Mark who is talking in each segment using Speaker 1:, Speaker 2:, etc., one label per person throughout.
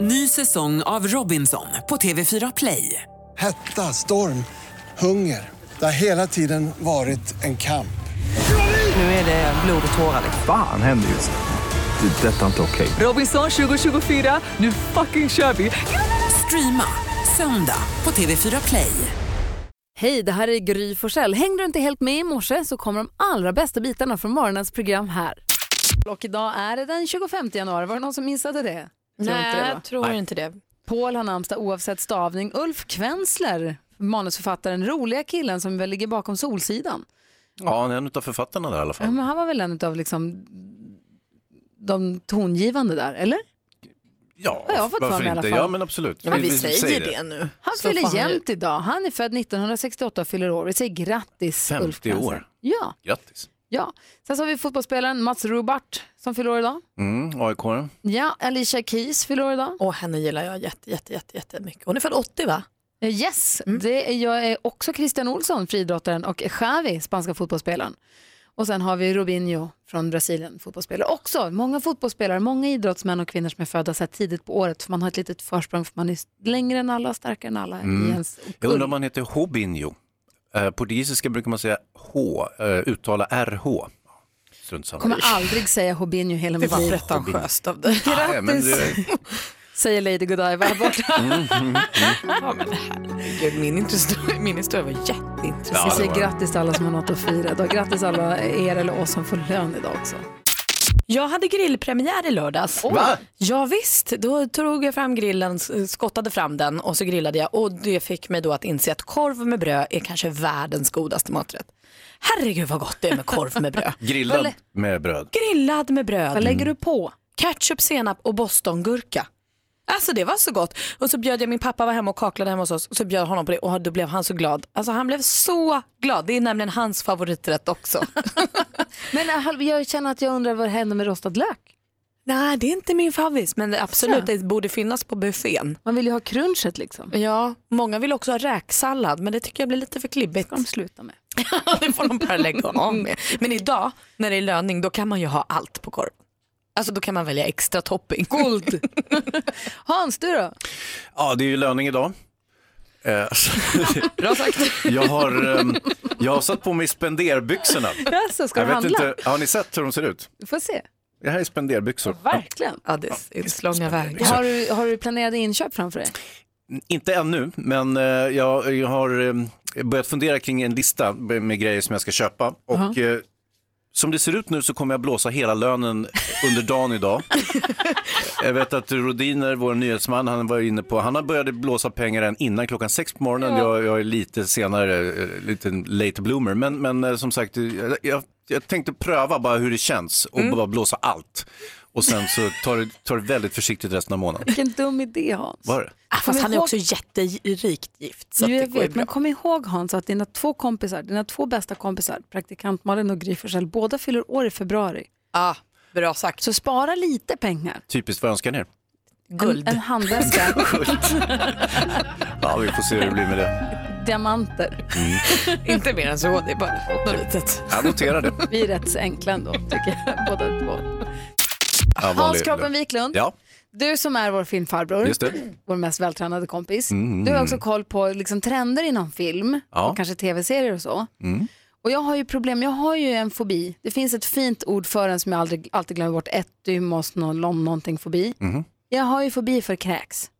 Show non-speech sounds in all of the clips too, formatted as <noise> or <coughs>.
Speaker 1: Ny säsong av Robinson på TV4 Play.
Speaker 2: Hetta, storm, hunger. Det har hela tiden varit en kamp.
Speaker 1: Nu är det blod och tårar.
Speaker 3: Fan händer just nu. Det. är Detta är inte okej.
Speaker 1: Robinson 2024, nu fucking kör vi! Streama söndag på TV4 Play.
Speaker 4: Hej, det här är Gry Forssell. Hängde du inte helt med i morse så kommer de allra bästa bitarna från morgonens program här. Och idag är det den 25 januari. Var det någon som missade det? Tror inte det,
Speaker 5: Nej,
Speaker 4: va?
Speaker 5: jag tror inte det.
Speaker 4: Paul har namnsdag oavsett stavning. Ulf Kvensler, manusförfattaren, roliga killen som väl ligger bakom Solsidan.
Speaker 6: Ja, han är en av författarna där i alla
Speaker 4: Ja,
Speaker 6: fall.
Speaker 4: men han var väl en av liksom, de tongivande där, eller?
Speaker 6: Ja,
Speaker 4: Ja, jag har fått för
Speaker 6: varför
Speaker 4: mig i alla
Speaker 6: inte?
Speaker 4: fall.
Speaker 6: Ja, men absolut.
Speaker 5: Men vi, säger det. nu.
Speaker 4: Han
Speaker 5: Så får
Speaker 4: fyller
Speaker 5: han
Speaker 4: jämnt idag. Han är född 1968 och fyller år. Vi säger grattis
Speaker 6: 50
Speaker 4: Ulf Kvensler.
Speaker 6: år.
Speaker 4: Ja,
Speaker 6: Grattis.
Speaker 4: ja. Sen så har vi fotbollsspelaren Mats Rubart som fyller år idag.
Speaker 6: Mm, AIK.
Speaker 4: Ja, Alicia Keys fyller år idag.
Speaker 5: Och henne gillar jag jätte, jätte, jätte, jättemycket. Hon är född 80 va?
Speaker 4: Eh, Yes, det är, jag är också Christian Olsson, friidrottaren, och Xavi, spanska fotbollsspelaren. Och sen har vi Robinho från Brasilien, fotbollsspelare. Också många fotbollsspelare, många idrottsmän och kvinnor som är födda så här tidigt på året, för man har ett litet försprång, för man är längre än alla, starkare än alla. I ens
Speaker 6: Mm. Jag undrar om han heter Hobinho. Eh, portugisiska brukar man säga H, eh, uttala RH. Strunt samma.
Speaker 4: kommer aldrig säga Robinho
Speaker 5: Det
Speaker 4: hela mitt
Speaker 5: var
Speaker 4: liv.
Speaker 5: pretentiöst av dig.
Speaker 6: Nej, men det-
Speaker 4: Säger Lady Godiva här <laughs>
Speaker 5: <laughs>
Speaker 4: borta.
Speaker 5: Ja, men herregud, min, historia, min historia var jätteintressant.
Speaker 4: Vi
Speaker 6: Ja, det
Speaker 4: säger
Speaker 6: var det.
Speaker 4: grattis till alla som har något att fira idag. Grattis alla er eller oss som får lön idag också.
Speaker 5: Jag hade grillpremiär i lördags.
Speaker 6: Va?
Speaker 5: Ja, visst, då tog jag fram grillen, s- skottade fram den och så grillade jag och det fick mig då att inse att korv med bröd är kanske världens godaste maträtt. Herregud vad gott det är med korv med <laughs> bröd.
Speaker 6: Grillad med bröd.
Speaker 5: Grillad med bröd.
Speaker 4: Vad lägger du på?
Speaker 5: ketchup, senap och bostongurka. Alltså det var så gott. Och så bjöd jag, min pappa var hemma och kaklade hemma hos oss, och så bjöd jag honom på det och då blev han så glad. Alltså han blev så glad. Det är nämligen hans favoriträtt också.
Speaker 4: Men eh, halv- jag känner att jag undrar vad händer med rostad lök?
Speaker 5: <laughs> Nej, det är inte min favorit, men det- absolut, det borde finnas på buffén.
Speaker 4: Man vill ju ha crunchet liksom.
Speaker 5: Ja, många vill också ha räksallad, men det tycker jag blir lite för klibbigt.
Speaker 4: de sluta med.
Speaker 5: <laughs> det får de bara lägga av <laughs> med. Men idag, när det är löning, då kan man ju ha allt på korv. Alltså då kan man välja extra topping. <laughs>
Speaker 4: Guld! Hans, du då?
Speaker 6: Ja, det är ju löning idag. Eh, <laughs> så- jag, har, ehm, jag har satt på mig spenderbyxorna.
Speaker 4: Jaså, ska
Speaker 6: jag
Speaker 4: du
Speaker 6: vet
Speaker 4: handla?
Speaker 6: inte, har ni sett hur de ser ut?
Speaker 4: Vi får se.
Speaker 6: Det här är spenderbyxor.
Speaker 4: Verkligen.
Speaker 5: Ja, det är långa vägar.
Speaker 4: Har du, har du planerade inköp framför dig?
Speaker 6: Inte ännu, men eh, jag, jag har eh, börjat fundera kring en lista med med grejer som jag ska köpa. Och eh, som det ser ut nu så kommer jag blåsa hela lönen under dagen idag. jag vet att Rodiner, vår nyhetsman, han var inne på, han har börjat blåsa pengar än innan klockan sex på morgonen. Jag, jag är lite senare, eh, lite late bloomer. Men, men eh, som sagt, eh, jag, jag tänkte pröva bara hur det känns och bara blåsa allt. Och sen så tar det, tar det väldigt försiktigt resten av månaden.
Speaker 4: Vilken dum idé Hans.
Speaker 6: Var det?
Speaker 5: Ah, fast
Speaker 4: Kommer
Speaker 5: han är
Speaker 4: ihåg-
Speaker 5: också jätterikt gift. Så att
Speaker 4: Jo,
Speaker 5: det
Speaker 4: jag
Speaker 5: går ju
Speaker 4: vet,
Speaker 5: bra.
Speaker 4: men kom ihåg Hans att dina två kompisar, dina två bästa kompisar, praktikant Malin och Gry Forssell, båda fyller år i februari.
Speaker 5: Ah, bra sagt.
Speaker 4: Så spara lite pengar.
Speaker 6: Typiskt, vad önskar ni er?
Speaker 5: Guld.
Speaker 4: En, en handväska, <laughs>
Speaker 6: <laughs> Ja, vi får se hur det blir med det.
Speaker 4: diamanter.
Speaker 5: <laughs> Inte mer än så. Det är bara något litet.
Speaker 6: Jag noterar det.
Speaker 4: Vi är rätt så enkla ändå, tycker jag. Båda två.
Speaker 6: Ja,
Speaker 4: Hans
Speaker 6: vanlig-
Speaker 4: Kroppen Wiklund,
Speaker 6: Ja,
Speaker 4: du som är vår filmfarbror,
Speaker 6: just det. Mm.
Speaker 4: vår mest vältränade kompis. Du har också koll på liksom, trender inom film
Speaker 6: Ja. Mm.
Speaker 4: och kanske tv-serier och så. Och jag har ju problem, jag har ju en fobi. Det finns ett fint ord för den som jag aldrig, alltid glömmer bort, ett dymos, någon, någon, någonting fobi.
Speaker 6: Mm.
Speaker 4: Jag har ju fobi för kräks.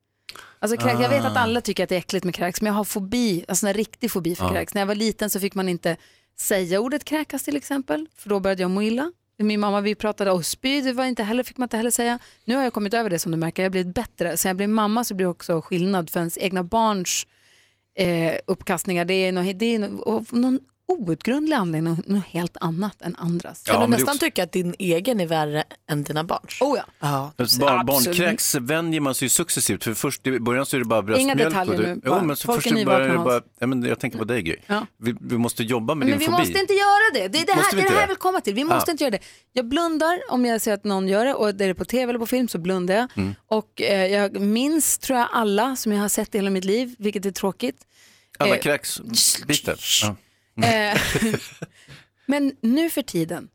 Speaker 4: Alltså kräks, jag vet att alla tycker att det är äckligt med kräks, men jag har fobi, alltså en riktig fobi för kräks. När jag var liten så fick man inte säga ordet kräkas till exempel, för då började jag må illa. Min mamma, vi pratade om spy, det var inte heller, fick man inte heller säga. Nu har jag kommit över det som du märker, jag har blivit bättre. Sen jag blev mamma så blir det också skillnad för ens egna barns eh, uppkastningar. Det är, någon, det är någon, av någon outgrundlig anledning något, något helt annat än andras.
Speaker 6: Ja,
Speaker 5: Kan
Speaker 6: men det
Speaker 5: du
Speaker 6: är
Speaker 5: nästan
Speaker 6: också-
Speaker 5: tycka att din egen är värre än dina barns?
Speaker 4: Oh ja.
Speaker 5: Ja.
Speaker 6: Ett barn,
Speaker 4: Absolut.
Speaker 6: barnkräks vänjer man sig ju successivt. För först i början så är det bara bröstmjölk.
Speaker 4: detaljer
Speaker 6: och det-
Speaker 4: nu, bara.
Speaker 6: Jo, men så
Speaker 4: Folk
Speaker 6: först
Speaker 4: är
Speaker 6: i början är det
Speaker 4: nybakna,
Speaker 6: bara, ja, men jag tänker på dig Gry.
Speaker 4: Ja.
Speaker 6: Vi, vi måste jobba med
Speaker 4: Men
Speaker 6: din
Speaker 4: vi
Speaker 6: fobi.
Speaker 4: måste inte göra det. Det är det
Speaker 6: Måste vi
Speaker 4: här, det är
Speaker 6: inte
Speaker 4: det här
Speaker 6: det?
Speaker 4: vi komma till. Vi måste
Speaker 6: Ah.
Speaker 4: inte göra det. Jag blundar om jag ser att någon gör det och är det på tv eller på film så blundar jag.
Speaker 6: Mm.
Speaker 4: Och eh, jag minns, tror jag, alla som jag har sett i hela mitt liv, vilket är tråkigt.
Speaker 6: Alla
Speaker 4: eh,
Speaker 6: kräksbitar. Ja. Mm.
Speaker 4: <laughs> Eh, Men nu för tiden,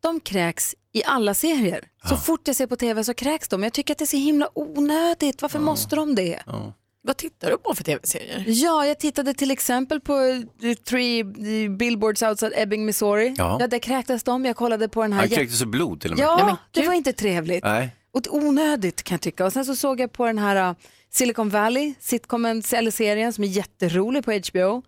Speaker 4: de kräks i alla serier. Så fort jag ser på tv så kräks de. Jag tycker att det är så himla onödigt. Varför måste de det?
Speaker 5: Vad tittar du på för tv-serier?
Speaker 4: Ja, jag tittade till exempel på eh, Three Billboards Outside Ebbing, Missouri.
Speaker 6: Ja.
Speaker 4: Ja, där kräktes de. Jag kollade på den här...
Speaker 6: Han
Speaker 4: jä-
Speaker 6: kräktes i blod till och med.
Speaker 4: Ja,
Speaker 5: Nej, men
Speaker 4: det
Speaker 5: gud.
Speaker 4: var inte trevligt.
Speaker 6: Nej.
Speaker 4: Och onödigt kan jag tycka. Och sen så såg jag på den här uh, Silicon Valley, sitcomen eller serien som är jätterolig på HBO.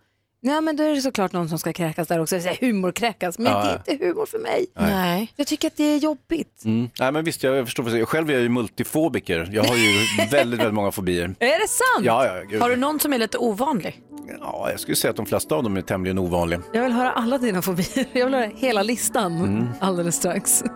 Speaker 4: Nej men då är det såklart någon som ska kräkas där också, Jag säger humorkräkas, men det är inte humor för mig.
Speaker 5: Nej.
Speaker 4: Jag tycker att det är jobbigt.
Speaker 6: Mm. Nej, men visst, jag förstår. precis. Själv är jag ju multifobiker. Jag har
Speaker 4: <laughs>
Speaker 6: ju väldigt, väldigt många fobier.
Speaker 4: Är det sant?
Speaker 6: Ja, ja, gud.
Speaker 5: Har du någon som är lite ovanlig?
Speaker 6: ja, jag skulle säga att de flesta av dem är tämligen ovanliga.
Speaker 4: Jag vill höra alla dina fobier. <laughs> Jag vill höra hela listan
Speaker 6: Mm.
Speaker 4: alldeles strax. <laughs>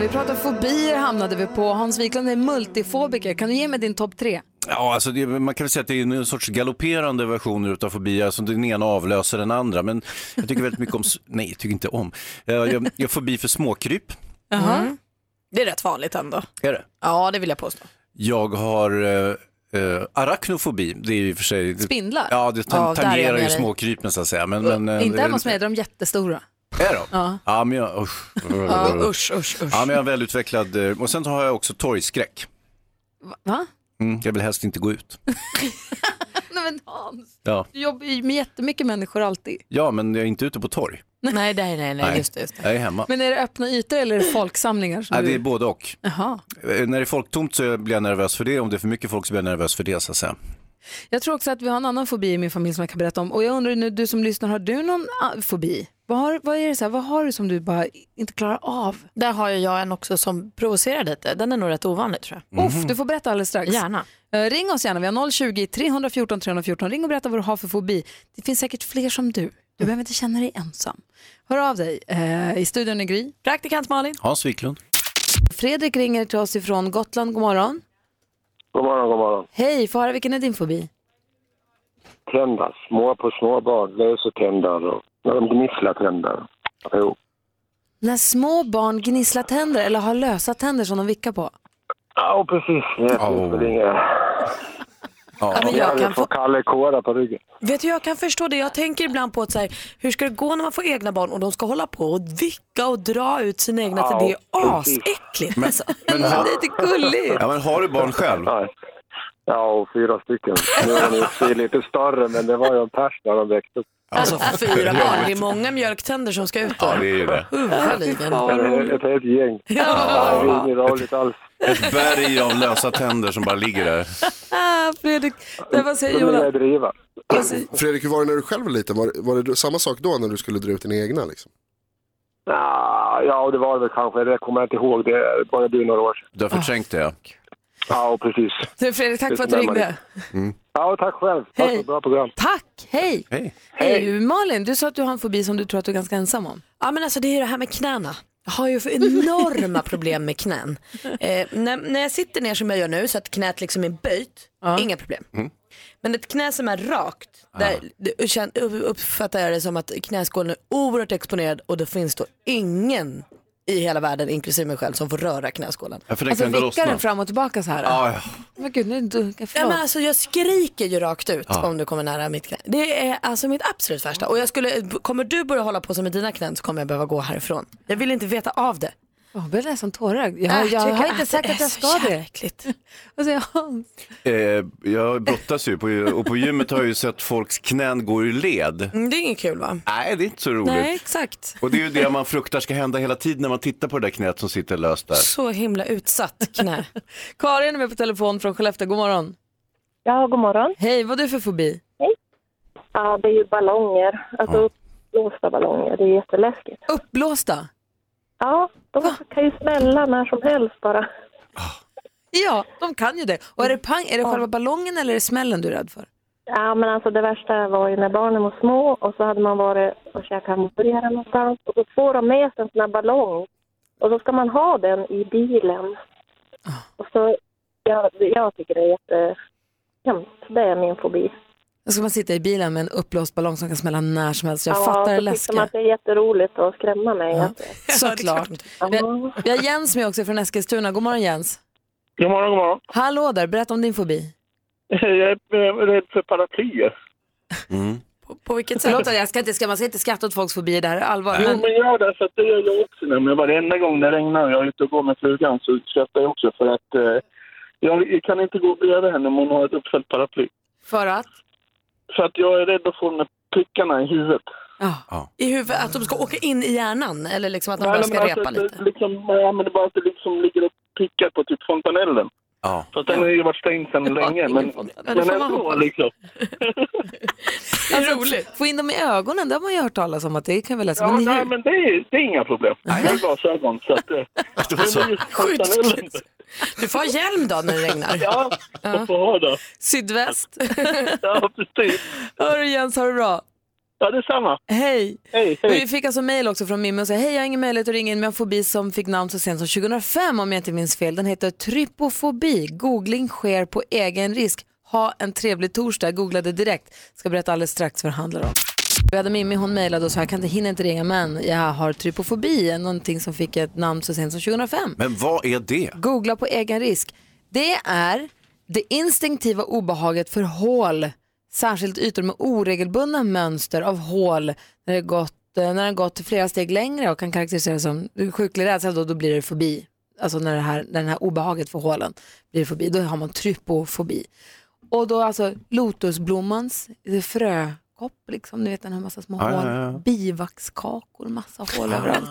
Speaker 4: Vi pratar fobier hamnade vi på. Hans Wiklund är multifobiker. Kan du ge mig din topp tre?
Speaker 6: Ja, alltså det, man kan väl säga att det är en sorts galopperande versioner utav fobier, alltså den ena avlöser den andra. Men jag tycker väldigt mycket om, s- <laughs> nej, jag tycker inte om. Eh, Jag, jag har fobi för småkryp.
Speaker 5: Det är rätt vanligt ändå.
Speaker 6: Är det?
Speaker 5: Mm. Ja, det vill jag påstå.
Speaker 6: Jag har eh, eh, arachnofobi, det är ju i och för sig...
Speaker 4: Spindlar?
Speaker 6: Ja, det
Speaker 5: Ja,
Speaker 6: tan-
Speaker 5: där är jag
Speaker 6: tangerar ju
Speaker 5: med dig.
Speaker 6: småkrypen så att säga. Men, men, eh,
Speaker 4: Inte
Speaker 6: det är
Speaker 4: hemma hos mig, där är de jättestora.
Speaker 6: Är de? Ja. men jag, usch.
Speaker 5: Ja, usch, usch, usch.
Speaker 6: Ja, men jag är välutvecklad. eh, Och sen har jag också torgskräck.
Speaker 4: Va?
Speaker 6: Mm. Jag vill helst inte gå ut.
Speaker 4: Nej men Hans,
Speaker 6: Ja,
Speaker 4: du jobbar ju med jättemycket människor alltid.
Speaker 6: ja men jag är inte ute på torg.
Speaker 5: <laughs> Nej, nej, nej, nej, just det. Just det.
Speaker 6: Jag är hemma.
Speaker 4: Men är det öppna ytor eller är det folksamlingar? Som
Speaker 6: Nej, det är
Speaker 4: du...
Speaker 6: både och.
Speaker 4: Jaha.
Speaker 6: Eh, När det är folktomt så blir jag nervös för det. Om det är för mycket folk så blir jag nervös för det. Så att säga.
Speaker 4: Jag tror också att vi har en annan fobi i min familj som jag kan berätta om. Och jag undrar nu, du som lyssnar, har du någon ah, fobi? Vad har, vad, är det så här, vad har du som du bara inte klarar av?
Speaker 5: Där har ju jag en också som provocerar lite. Den är nog rätt ovanlig tror
Speaker 6: Mhm.
Speaker 5: jag.
Speaker 4: Uff, du får berätta alldeles strax.
Speaker 5: Gärna.
Speaker 4: Eh, ring oss gärna, vi har 020-314 314. Ring och berätta vad du har för fobi. Det finns säkert fler som du. Du behöver inte känna dig ensam. Hör av dig. Eh, I studion är Gry.
Speaker 5: Praktikant Malin.
Speaker 6: Hans Wiklund.
Speaker 4: Fredrik ringer till oss ifrån Gotland. God morgon.
Speaker 7: God morgon, god morgon.
Speaker 4: Hej, få höra vilken är din fobi?
Speaker 7: Tänder. Små på småbarn, lösetänder och när de gnisslar tänder. Jo.
Speaker 4: När små barn gnisslar tänder eller har lösa tänder som de vickar på.
Speaker 7: Ja, precis. Det
Speaker 6: Au.
Speaker 7: finns väl inget.
Speaker 5: Ja, men jag kan
Speaker 7: Jag
Speaker 5: få...
Speaker 7: får Kalle Kåra på ryggen.
Speaker 5: Vet du, jag kan förstå det. Jag tänker ibland på att så här, hur ska det gå när man får egna barn och de ska hålla på och vicka och dra ut sina egna
Speaker 7: Ja,
Speaker 5: till det är
Speaker 7: precis.
Speaker 5: asäckligt. alltså. <laughs>
Speaker 6: Men har,
Speaker 4: Det är lite gulligt.
Speaker 6: ja, men har du barn själv?
Speaker 7: Nej. Ja, och fyra stycken. Nu är de i och för sig lite större, men det var ju en pers när de växte upp.
Speaker 5: Alltså fyra barn, det är många mjölktänder som ska ut
Speaker 6: Ja, det
Speaker 5: där.
Speaker 6: är ju det.
Speaker 5: Huvudskäligen.
Speaker 7: Det är Ett helt gäng. Ja, det är inget roligt alls.
Speaker 6: Ett berg av lösa tänder som bara ligger där.
Speaker 4: Ah, Fredrik, det var så
Speaker 7: Då vill
Speaker 8: Mm.
Speaker 7: jag driva.
Speaker 9: Fredrik, hur var det när du själv var liten? Var, var det du- samma sak då när du skulle dra ut dina egna? Liksom?
Speaker 7: Ja, ja, det var det väl kanske. Det kommer jag inte ihåg. Det började bli några år sedan.
Speaker 6: Du har förträngt det.
Speaker 7: Ja, och precis.
Speaker 4: Du, Fredrik, tack för att du
Speaker 7: Det är så
Speaker 4: ringde.
Speaker 7: Ja, och tack själv. Tack för ett bra program.
Speaker 4: Tack, hej.
Speaker 6: Hej.
Speaker 4: Hej. Malin, du sa att du har en fobi som du tror att du är ganska ensam om.
Speaker 5: Ja men alltså det är ju det här med knäna. Jag har ju för enorma problem med knän. Eh, när, när jag sitter ner som jag gör nu så att knät liksom är böjt, inga problem. Men ett knä som är rakt, där det- kän- upp- uppfattar jag det som att knäskålen är oerhört exponerad och det finns då ingen i hela världen, inklusive mig själv, som får röra knäskålen.
Speaker 6: Jag förtänkte
Speaker 4: Alltså
Speaker 6: den där
Speaker 4: vickar den
Speaker 6: lossna.
Speaker 4: fram och tillbaka så här?
Speaker 6: Ja, ja.
Speaker 4: Men gud, nu du,
Speaker 5: Ja,
Speaker 4: förlåt.
Speaker 5: men alltså, jag skriker ju rakt ut om du kommer nära mitt knä. Det är alltså mitt absolut värsta. Och jag skulle, kommer du börja hålla på som med dina knän så kommer jag behöva gå härifrån. Jag vill inte veta av det.
Speaker 4: Jag börjar nästan tårögd. Jag,
Speaker 5: Ah,
Speaker 4: jag,
Speaker 5: tycker
Speaker 4: har inte
Speaker 5: att
Speaker 4: sagt
Speaker 5: det
Speaker 4: att
Speaker 5: är
Speaker 4: jag
Speaker 5: så
Speaker 4: ska
Speaker 5: jävla
Speaker 4: det. Alltså,
Speaker 5: äckligt.
Speaker 4: Vad säger <laughs> Hans?
Speaker 6: Eh, jag brottas ju på, och på gymmet har jag ju sett folks knän gå ur led.
Speaker 5: Mm, Det är inget kul va?
Speaker 6: Nej, det är inte så roligt.
Speaker 5: Nej, exakt.
Speaker 6: Och det är ju det man fruktar ska hända hela tiden när man tittar på det där knät som sitter löst där.
Speaker 5: Så himla
Speaker 4: <laughs>
Speaker 5: utsatt knä.
Speaker 4: Karin är med på telefon från Skellefteå. God morgon.
Speaker 10: Ja, god morgon.
Speaker 4: Hej, vad har du för fobi?
Speaker 10: Ja, det är ju ballonger. Alltså uppblåsta ballonger. Det är jätteläskigt.
Speaker 4: Uppblåsta?
Speaker 10: Ja, de kan ju smälla när som helst bara.
Speaker 4: Ja, de kan ju det. Och är det pang, är det själva ballongen eller är det smällen du är rädd för?
Speaker 10: Ja, men alltså det värsta var ju när barnen var små och så hade man varit och käkat hamburgare någonstans och så får de med sig en sån här ballong och så ska man ha den i bilen.
Speaker 5: Ah.
Speaker 10: Och så, jag, jag tycker det är jättehemskt. Det är min fobi.
Speaker 4: Då ska man sitta i bilen med en uppblåst ballong som kan smälla när som helst. Jag
Speaker 10: ja,
Speaker 4: fattar
Speaker 10: så
Speaker 4: det
Speaker 10: tycker man
Speaker 11: <laughs>
Speaker 4: läskiga.
Speaker 10: att det är jätteroligt att skrämma mig. Ja.
Speaker 4: Såklart. Vi har, vi har Jens med också från Eskilstuna. God morgon Jens.
Speaker 12: God morgon, god morgon.
Speaker 4: Hallå där, berätta om din fobi.
Speaker 12: Jag är eh, rädd för paraplyer.
Speaker 5: På, på vilket sätt?
Speaker 4: Förlåt, jag ska inte, ska, man ska inte skratta åt folks fobier, det här är allvar.
Speaker 8: Jo,
Speaker 4: Men,
Speaker 8: men gör det, för att det gör jag också. Nej, men varenda gång det regnar och jag är ute och går med flugan så skrattar jag också för att eh, jag kan inte gå bredvid henne om hon har ett uppfällt paraply.
Speaker 4: för att?
Speaker 8: För att jag är rädd att få de där prickarna i huvudet.
Speaker 5: I huvudet, att de ska åka in i hjärnan eller liksom att de bara
Speaker 8: Nej,
Speaker 5: ska
Speaker 8: men alltså,
Speaker 5: repa
Speaker 8: det-
Speaker 5: lite.
Speaker 8: Liksom, ja, men det är bara att det liksom ligger och prickar på typ fontanellen.
Speaker 6: Ja.
Speaker 8: Fast den har ju varit stängd sedan länge. Men, men ändå liksom.
Speaker 4: Alltså, roligt. Få in dem i ögonen, det har man ju hört talas om att det kan väl läsa.
Speaker 8: Ja,
Speaker 4: men i
Speaker 8: nej,
Speaker 4: huvudet.
Speaker 8: men det är, det är inga problem. Jag har glasögon så att... eh,
Speaker 6: Det var <laughs> så.
Speaker 8: det är just fontanellen.
Speaker 5: Du får ha hjälm då när det regnar.
Speaker 8: Ja,
Speaker 5: Ah.
Speaker 10: <laughs>
Speaker 8: jag får ha det.
Speaker 4: Sydväst.
Speaker 8: <laughs> Ja, precis.
Speaker 4: Hörru Jens, ha det bra.
Speaker 8: Ja, detsamma.
Speaker 4: Hej.
Speaker 8: Hej,
Speaker 4: Men
Speaker 8: hej.
Speaker 4: Vi fick alltså mejl också från Mimmi och sa hej jag har ingen möjlighet att ringa in men jag har en fobi som fick namn så sent som 2005 om jag inte minns fel. Den heter trypofobi. Googling sker på egen risk. Ha en trevlig torsdag. Googlade direkt. Ska berätta alldeles strax vad det handlar om. Vi hade Mimmi, hon mejlade och sa jag kan inte hinna inte ringa men jag har trypofobi. Någonting som fick ett namn så sent som 2005.
Speaker 6: Men vad är det?
Speaker 4: Googla på egen risk. Det är det instinktiva obehaget för hål, särskilt ytor med oregelbundna mönster av hål när det gått, eh, när det gått flera steg längre och kan karaktäriseras som sjuklig rädsla, då, då blir det fobi. Alltså när det här, när det här obehaget för hålen blir fobi, då har man trypofobi. Och då alltså lotusblommans eh, frökopp, liksom, ni vet den har massa små
Speaker 6: Ja,
Speaker 4: hål,
Speaker 6: ja, ja.
Speaker 4: bivaxkakor, massa hål överallt.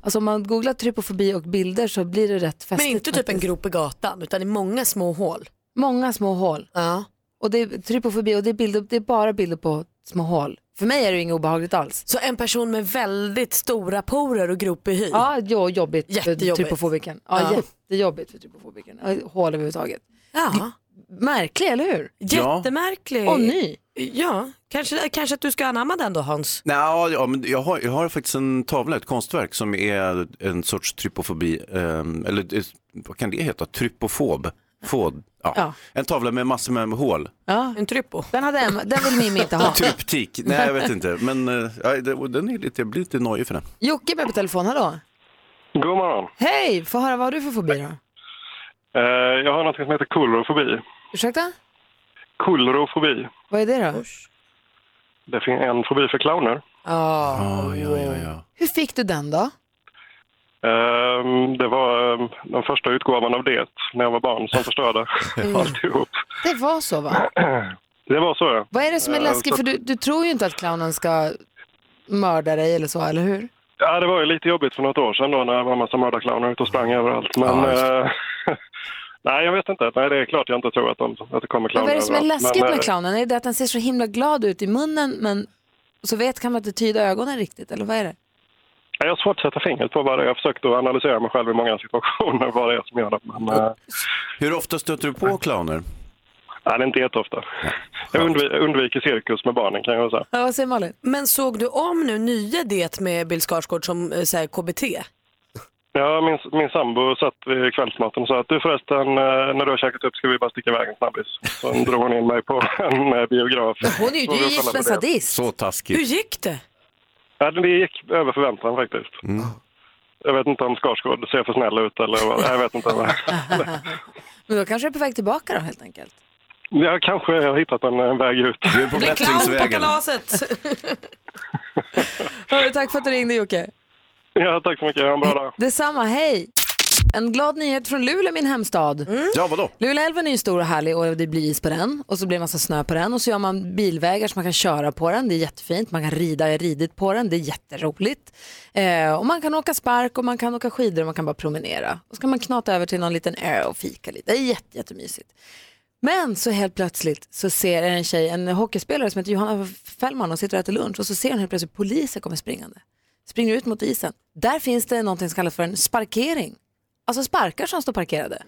Speaker 4: Alltså om man googlar trypofobi och bilder så blir det rätt
Speaker 5: Men
Speaker 4: festligt.
Speaker 5: inte typ en
Speaker 4: faktiskt.
Speaker 5: grop i gatan utan i många små hål.
Speaker 4: Många små hål.
Speaker 5: Ja.
Speaker 4: Och det är trypofobi och det är, bilder, det är bara bilder på små hål. För mig är det ju inget obehagligt alls.
Speaker 5: Så en person med väldigt stora porer och grop i hy.
Speaker 4: Ja, jo, jobbigt för
Speaker 5: Jättejobbigt.
Speaker 4: trypofobiken. Ja,
Speaker 5: Ja.
Speaker 4: Jättejobbigt för trypofobiken. Ja, Hål överhuvudtaget.
Speaker 5: Ja.
Speaker 4: Märklig, eller hur?
Speaker 5: Jättemärklig.
Speaker 4: Och ny.
Speaker 5: Eh, Ja, kanske, kanske att du ska anamma den då Hans.
Speaker 6: Nå, ja, men jag, har, jag har faktiskt en tavla, ett konstverk som är en sorts trypofobi, ehm, eller eh, vad kan det heta, trypofob? Fod, ja.
Speaker 4: Ja.
Speaker 6: En tavla med massor med hål,
Speaker 4: Ja.
Speaker 5: En trypo.
Speaker 4: Den, hade Emma, den vill Mimmi
Speaker 5: <laughs>
Speaker 4: inte ha.
Speaker 6: <laughs> tryptik, nej jag vet inte, men eh, ja, det- och den är lite, jag blir lite nojig för den.
Speaker 4: Jocke är med på telefon, hallå.
Speaker 8: God morgon.
Speaker 4: Hej, få höra vad har du för fobi då?
Speaker 8: Eh, jag har något som heter kolorofobi.
Speaker 4: Ursäkta?
Speaker 8: Kolorofobi.
Speaker 4: Vad är det då?
Speaker 8: Det finns en fobi för clowner.
Speaker 5: Ja.
Speaker 6: Oh, ja, ja, ja.
Speaker 4: Hur fick du den då?
Speaker 8: Ehm, det var ehm, den första utgåvan av det när jag var barn som förstörde alltihop.
Speaker 4: Det var så va?
Speaker 8: Det var så ja.
Speaker 4: Vad är det som är
Speaker 8: Eh,
Speaker 4: läskigt?
Speaker 8: så-
Speaker 4: För du, du tror ju inte att clownen ska mörda dig eller så, eller hur?
Speaker 8: ja. Det var ju lite jobbigt för något år sedan då när det var en massa mördarclowner ute och sprang överallt. Men,
Speaker 6: Ja, just
Speaker 8: eh, <laughs> nej, jag vet inte. Nej, det är klart jag inte tror att, de, att det kommer
Speaker 4: Men
Speaker 8: clowner
Speaker 4: vad är det som är
Speaker 8: överallt.
Speaker 4: läskigt
Speaker 8: Men,
Speaker 4: med
Speaker 8: eh,
Speaker 4: clownen? Är det att den ser så himla glad ut i munnen men så vet kan man inte tyda ögonen riktigt? Eller vad är det?
Speaker 8: Jag har svårt att sätta fingret på vad det är. Jag har försökt att analysera mig själv i många situationer <laughs> vad det är som gör det. Men, eh,
Speaker 6: Hur ofta stöter du på clowner?
Speaker 8: nej, det är inte jätteofta. Jag undvi- undviker cirkus med barnen kan jag säga.
Speaker 4: Ja, vad säger Malin?
Speaker 5: Men såg du om nu nya det med Bill Skarsgård som eh, så här, KBT?
Speaker 8: Ja, min, min sambo satt vid kvällsmaten och sa att du förresten, eh, när du har käkat upp ska vi bara sticka iväg en snabbis. Sen drog hon in mig på <laughs> en eh, biograf.
Speaker 4: Hon är ju
Speaker 8: Så vi
Speaker 4: du är gift
Speaker 8: kollade
Speaker 4: med
Speaker 8: på
Speaker 4: en
Speaker 8: det.
Speaker 4: sadist.
Speaker 6: Så
Speaker 5: Hur
Speaker 6: taskigt.
Speaker 5: gick det?
Speaker 8: Ja, det gick över förväntan faktiskt. Jag vet inte om Skarsgård ser för snäll ut eller vad. Jag vet inte. vad.
Speaker 4: Men då kanske du är på väg tillbaka då helt enkelt.
Speaker 8: Jag kanske har hittat en, en väg ut. <laughs>
Speaker 6: Du är på
Speaker 5: Bli clown på
Speaker 6: bättringsvägen.
Speaker 5: kalaset!
Speaker 4: <laughs> Hörru, tack för att du ringde Jocke.
Speaker 8: Ja, tack så mycket. Ha en bra dag.
Speaker 4: Detsamma, hej! En glad nyhet från Luleå, min hemstad.
Speaker 6: Ja, vadå?
Speaker 4: Luleälven är ju stor och härlig och det blir is på den och så blir det massa snö på den och så gör man bilvägar så man kan köra på den, det är jättefint, man kan rida, jag har ridit på den, det är jätteroligt. Eh, och man kan åka spark och man kan åka skidor och man kan bara promenera. Och så kan man knata över till någon liten ö och fika lite, det är jätte, jättemysigt. Men så helt plötsligt så ser en tjej, en hockeyspelare som heter Johanna Fällman och sitter och äter lunch och så ser hon helt plötsligt polisen kommer springande. Springer ut mot isen. Där finns det någonting som kallas för en sparkering. Alltså sparkar som står parkerade.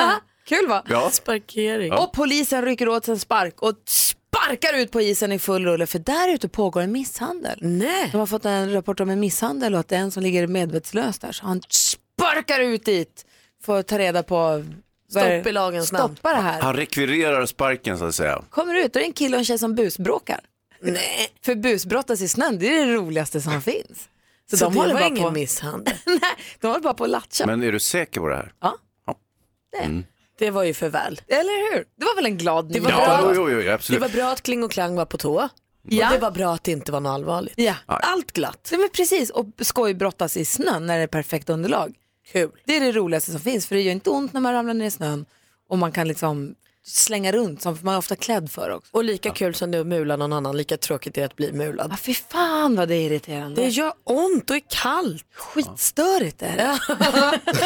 Speaker 4: Aha, kul va?
Speaker 6: Ja.
Speaker 5: Sparkering.
Speaker 4: Och polisen rycker åt sig en spark och sparkar ut på isen i full rulle för där ute pågår en misshandel.
Speaker 5: Nej.
Speaker 4: De har fått en rapport om en misshandel och att det är en som ligger medvetslös där så han sparkar ut dit för att ta reda på vad är det-
Speaker 5: Stopp i lagens namn.
Speaker 4: Stoppa det här.
Speaker 6: Han rekvirerar sparken så att säga.
Speaker 4: Kommer ut och det är en kille och en tjej som busbråkar.
Speaker 5: Nej.
Speaker 4: För busbrottas i snön, det är det roligaste som finns. Så,
Speaker 5: Så
Speaker 4: de,
Speaker 5: det
Speaker 4: håller
Speaker 5: var
Speaker 4: bara
Speaker 5: ingen
Speaker 4: på,
Speaker 5: misshandel.
Speaker 4: nej, de håller bara på att latcha.
Speaker 6: Men är du säker på det här?
Speaker 5: Det var ju för väl.
Speaker 4: Eller hur? Det var väl en glad
Speaker 5: var
Speaker 4: nyhet?
Speaker 5: bra.
Speaker 6: Ja, jo, jo, jo,
Speaker 5: Det
Speaker 6: absolut.
Speaker 5: var bra att Kling och Klang var på tå. Ja. Och det var bra att det inte var något allvarligt.
Speaker 4: Ja.
Speaker 5: Allt glatt.
Speaker 4: Ja, men precis, och skojbrottas i snön när det är perfekt underlag.
Speaker 5: Kul.
Speaker 4: Det är det roligaste som finns, för det gör inte ont när man ramlar ner i snön och man kan liksom slänga runt, som för man är ofta klädd för också.
Speaker 5: Och lika kul som det är att mula någon annan, lika tråkigt är det att bli mulad.
Speaker 4: Ja, fy fan vad det är irriterande.
Speaker 5: Det gör ont och är kallt.
Speaker 4: Skitstörigt är det. <laughs>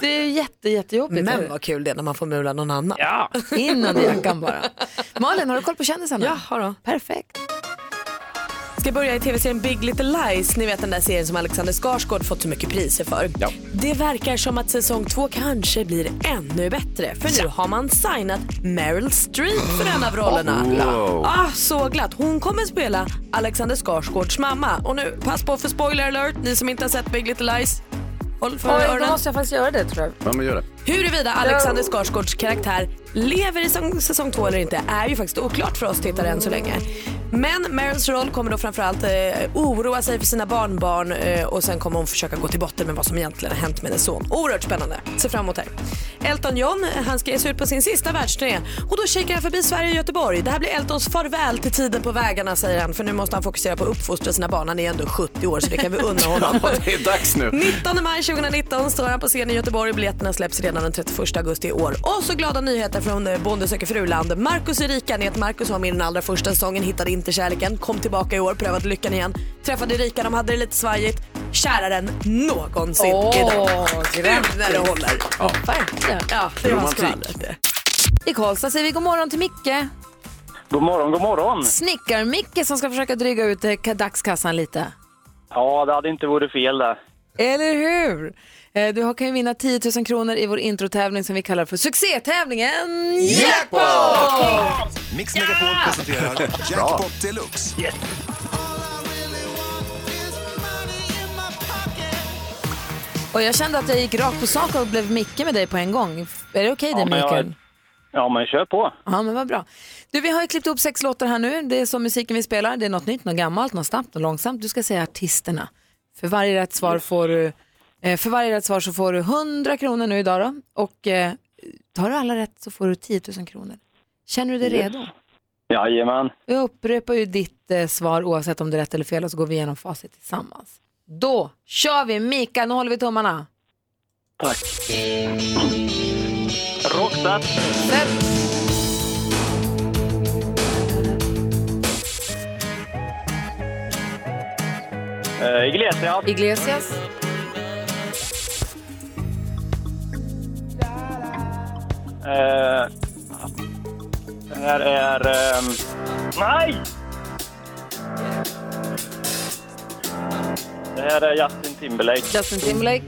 Speaker 4: det är jätte, jättejobbigt.
Speaker 5: Men vad kul det är när man får mula någon annan.
Speaker 4: Ja. In under jackan bara. Malin, har du koll på kändisarna?
Speaker 5: Ja, har då.
Speaker 4: Perfekt.
Speaker 5: Ska börja i tv-serien Big Little Lies, ni vet den där serien som Alexander Skarsgård fått så mycket priser för. Det verkar som att säsong två kanske blir ännu bättre för nu har man signat Meryl Streep för en av rollerna.
Speaker 9: Oh,
Speaker 13: Wow.
Speaker 5: Ah, så glatt! Hon kommer spela Alexander Skarsgårds mamma. Och nu, pass på för spoiler alert, ni som inte har sett Big Little Lies. Håll för
Speaker 4: Oj, då
Speaker 5: öronen.
Speaker 4: måste jag faktiskt göra det tror jag.
Speaker 6: Ja, men gör det.
Speaker 5: Huruvida Alexander Skarsgårds karaktär lever i säsong, säsong två eller inte är ju faktiskt oklart för oss tittare än så länge. Men Meryls roll kommer då framförallt eh, oroa sig för sina barnbarn eh, och sen kommer hon försöka gå till botten med vad som egentligen har hänt med hennes son. Oerhört spännande. Se fram emot det här. Elton John, eh, han ska ge sig ut på sin sista världsturné och då kikar han förbi Sverige och Göteborg. Det här blir Eltons farväl till tiden på vägarna säger han för nu måste han fokusera på att uppfostra sina barn. Han är ändå 70 år så det kan vi unna
Speaker 6: <laughs>
Speaker 5: honom.
Speaker 6: Ja, det är dags nu. <laughs>
Speaker 5: 19 maj 2019 står han på scen i Göteborg. Biljetterna släpps redan den 31 augusti i år. Och så glada nyheter från eh, Bonde söker fruland. Marcus Erika, ni vet Marcus var med i den allra första säsongen, hittade inte kärleken, kom tillbaka i år, prövade lyckan igen, träffade Erika, de hade det lite svajigt. Kärare än någonsin
Speaker 4: Åh,
Speaker 5: idag.
Speaker 4: grattis.
Speaker 5: Gud, när det håller.
Speaker 4: Ja. Verkligen.
Speaker 5: Ja, det var
Speaker 4: Romantik.
Speaker 5: skvallret.
Speaker 4: I Karlstad säger vi god morgon till Micke.
Speaker 14: God morgon, god morgon.
Speaker 4: Snickar-Micke som ska försöka dryga ut eh, ka- dagskassan lite.
Speaker 14: Ja, det hade inte varit fel det.
Speaker 4: Eller hur? Eh, Du har- kan ju vinna 10 000 kronor i vår introtävling som vi kallar för succétävlingen Jackpot!
Speaker 1: Mix Megapol presenterar Jackpot Deluxe.
Speaker 4: Och jag kände att jag gick rakt på sak och blev Micke med dig på en gång. Är det okej det
Speaker 14: men jag-
Speaker 4: Mikael?
Speaker 14: Ja, men kör på.
Speaker 4: Ja, men vad bra. Du, vi har ju klippt ihop sex låtar här nu. Det är så musiken vi spelar. Det är något nytt, något gammalt, något snabbt, något långsamt. Du ska säga artisterna. För varje rätt svar får du, eh, för varje rätt svar så får du 100 kronor nu idag då. Och eh, tar du alla rätt så får du 10 000 kronor. Känner du dig
Speaker 14: Yes.
Speaker 4: redo?
Speaker 14: Jajamän.
Speaker 4: Jag upprepar ju ditt eh, svar oavsett om det är rätt eller fel och så går vi igenom facit tillsammans. Då kör vi! Mika, nu håller vi tummarna.
Speaker 14: Tack. Roxat. Eh, Iglesias.
Speaker 4: Iglesias.
Speaker 14: Eh, det här är... ehm, nej! Det här är Justin Timberlake.
Speaker 4: Justin Timberlake.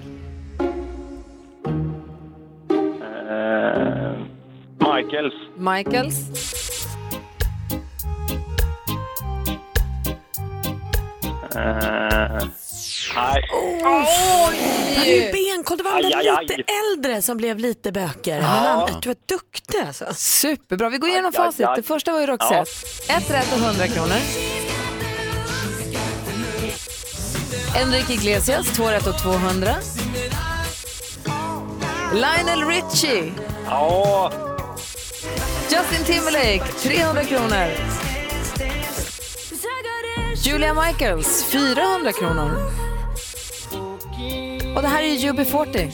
Speaker 14: Eh, Michaels.
Speaker 4: Michaels.
Speaker 14: Eh, nej.
Speaker 5: Oj! Benkoll, det var den
Speaker 14: Aj, aj,
Speaker 5: där
Speaker 14: aj.
Speaker 5: lite äldre som blev lite bökigare. Men
Speaker 4: Ja.
Speaker 5: han, du är duktig alltså.
Speaker 4: Superbra. Vi går igenom
Speaker 5: Aj, aj,
Speaker 4: facit.
Speaker 5: aj.
Speaker 4: Det första var ju Roxette. Ett rätt och 100 kronor. Enrique Iglesias, två rätt och 200. Lionel Richie,
Speaker 14: Ja.
Speaker 4: Justin Timberlake, 300 kronor. Julia Michaels, 400 kronor. Och det här är ju UB40,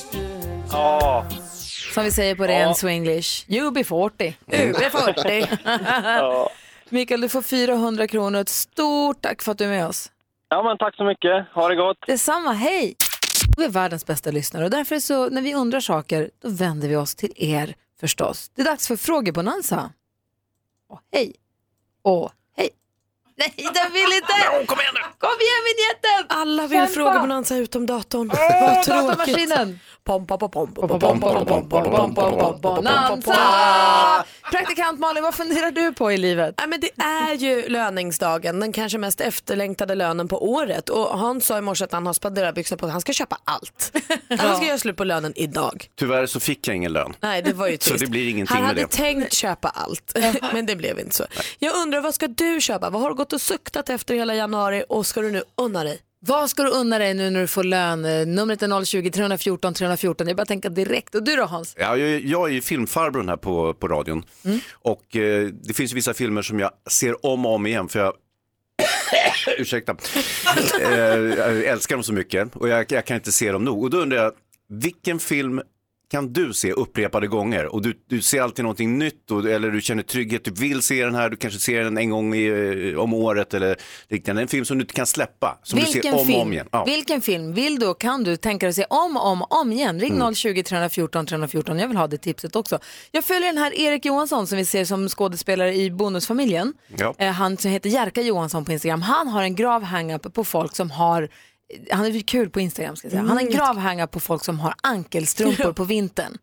Speaker 14: Ja.
Speaker 4: som vi säger på ren swenglish. UB40. UB40.
Speaker 14: <laughs> Ja.
Speaker 4: Mikael, du får 400 kronor. Ett stort tack för att du är med oss.
Speaker 14: ja, men tack så mycket. Ha det gott.
Speaker 4: Detsamma, hej! Vi är världens bästa lyssnare och därför så när vi undrar saker då vänder vi oss till er förstås. Det är dags för frågebonanza. Åh hej! Åh hej! <laughs> Nej, den vill inte! Kom igen nu! Kom igen vinjetten!
Speaker 5: Alla vill
Speaker 4: Kämpa!
Speaker 5: fråga bonanza utom datorn. Vad tråkigt.
Speaker 4: Datamaskinen!
Speaker 5: Pompa, pompa, pompa,
Speaker 4: Bonanza! Praktikant Malin, vad funderar du på i livet?
Speaker 5: Ja, men det är ju löningsdagen, den kanske mest efterlängtade lönen på året. Och Hans sa i morse att han har spenderarbyxorna på sig, han ska köpa allt. Han ska göra slut på lönen idag.
Speaker 6: Tyvärr så fick jag ingen lön.
Speaker 5: Nej, det var
Speaker 6: Så
Speaker 5: ju trist.
Speaker 6: det blir ingenting
Speaker 5: han
Speaker 6: med
Speaker 5: hade
Speaker 6: det.
Speaker 5: tänkt köpa allt, <laughs> men det blev inte så. Jag undrar, vad ska du köpa? Vad har du gått och suktat efter hela januari och ska du nu unna dig?
Speaker 4: Vad ska du unna dig nu när du får lön? Eh, Numret är 020-314 314. Jag bara tänker direkt. Och du då Hans?
Speaker 6: Ja, jag, jag är ju filmfarbrorn här på, på radion. Och eh, det finns ju vissa filmer som jag ser om och om igen för jag <coughs> Ursäkta. eh, jag älskar dem så mycket och jag, jag kan inte se dem nog. Och då undrar jag, vilken film kan du se upprepade gånger? Och du, du ser alltid någonting nytt och, eller du känner trygghet, du vill se den här, du kanske ser den en gång i, eh, om året eller liknande. En film som du inte kan släppa, som du ser om
Speaker 4: film?
Speaker 6: och om igen. Ja.
Speaker 4: Vilken film vill du och kan du tänka dig att se om och om, och om igen? Ring
Speaker 6: Mm.
Speaker 4: 020-314 314. Jag vill ha det tipset också. Jag följer den här Erik Johansson som vi ser som skådespelare i Bonusfamiljen.
Speaker 1: Ja.
Speaker 4: Eh, Han som heter Jerka Johansson på Instagram. Han har en grav hang-up på folk som har eh, han är ju kul på Instagram ska jag säga. Han har en
Speaker 1: Mm.
Speaker 4: grav hang-up på folk som har ankelstrumpor på vintern.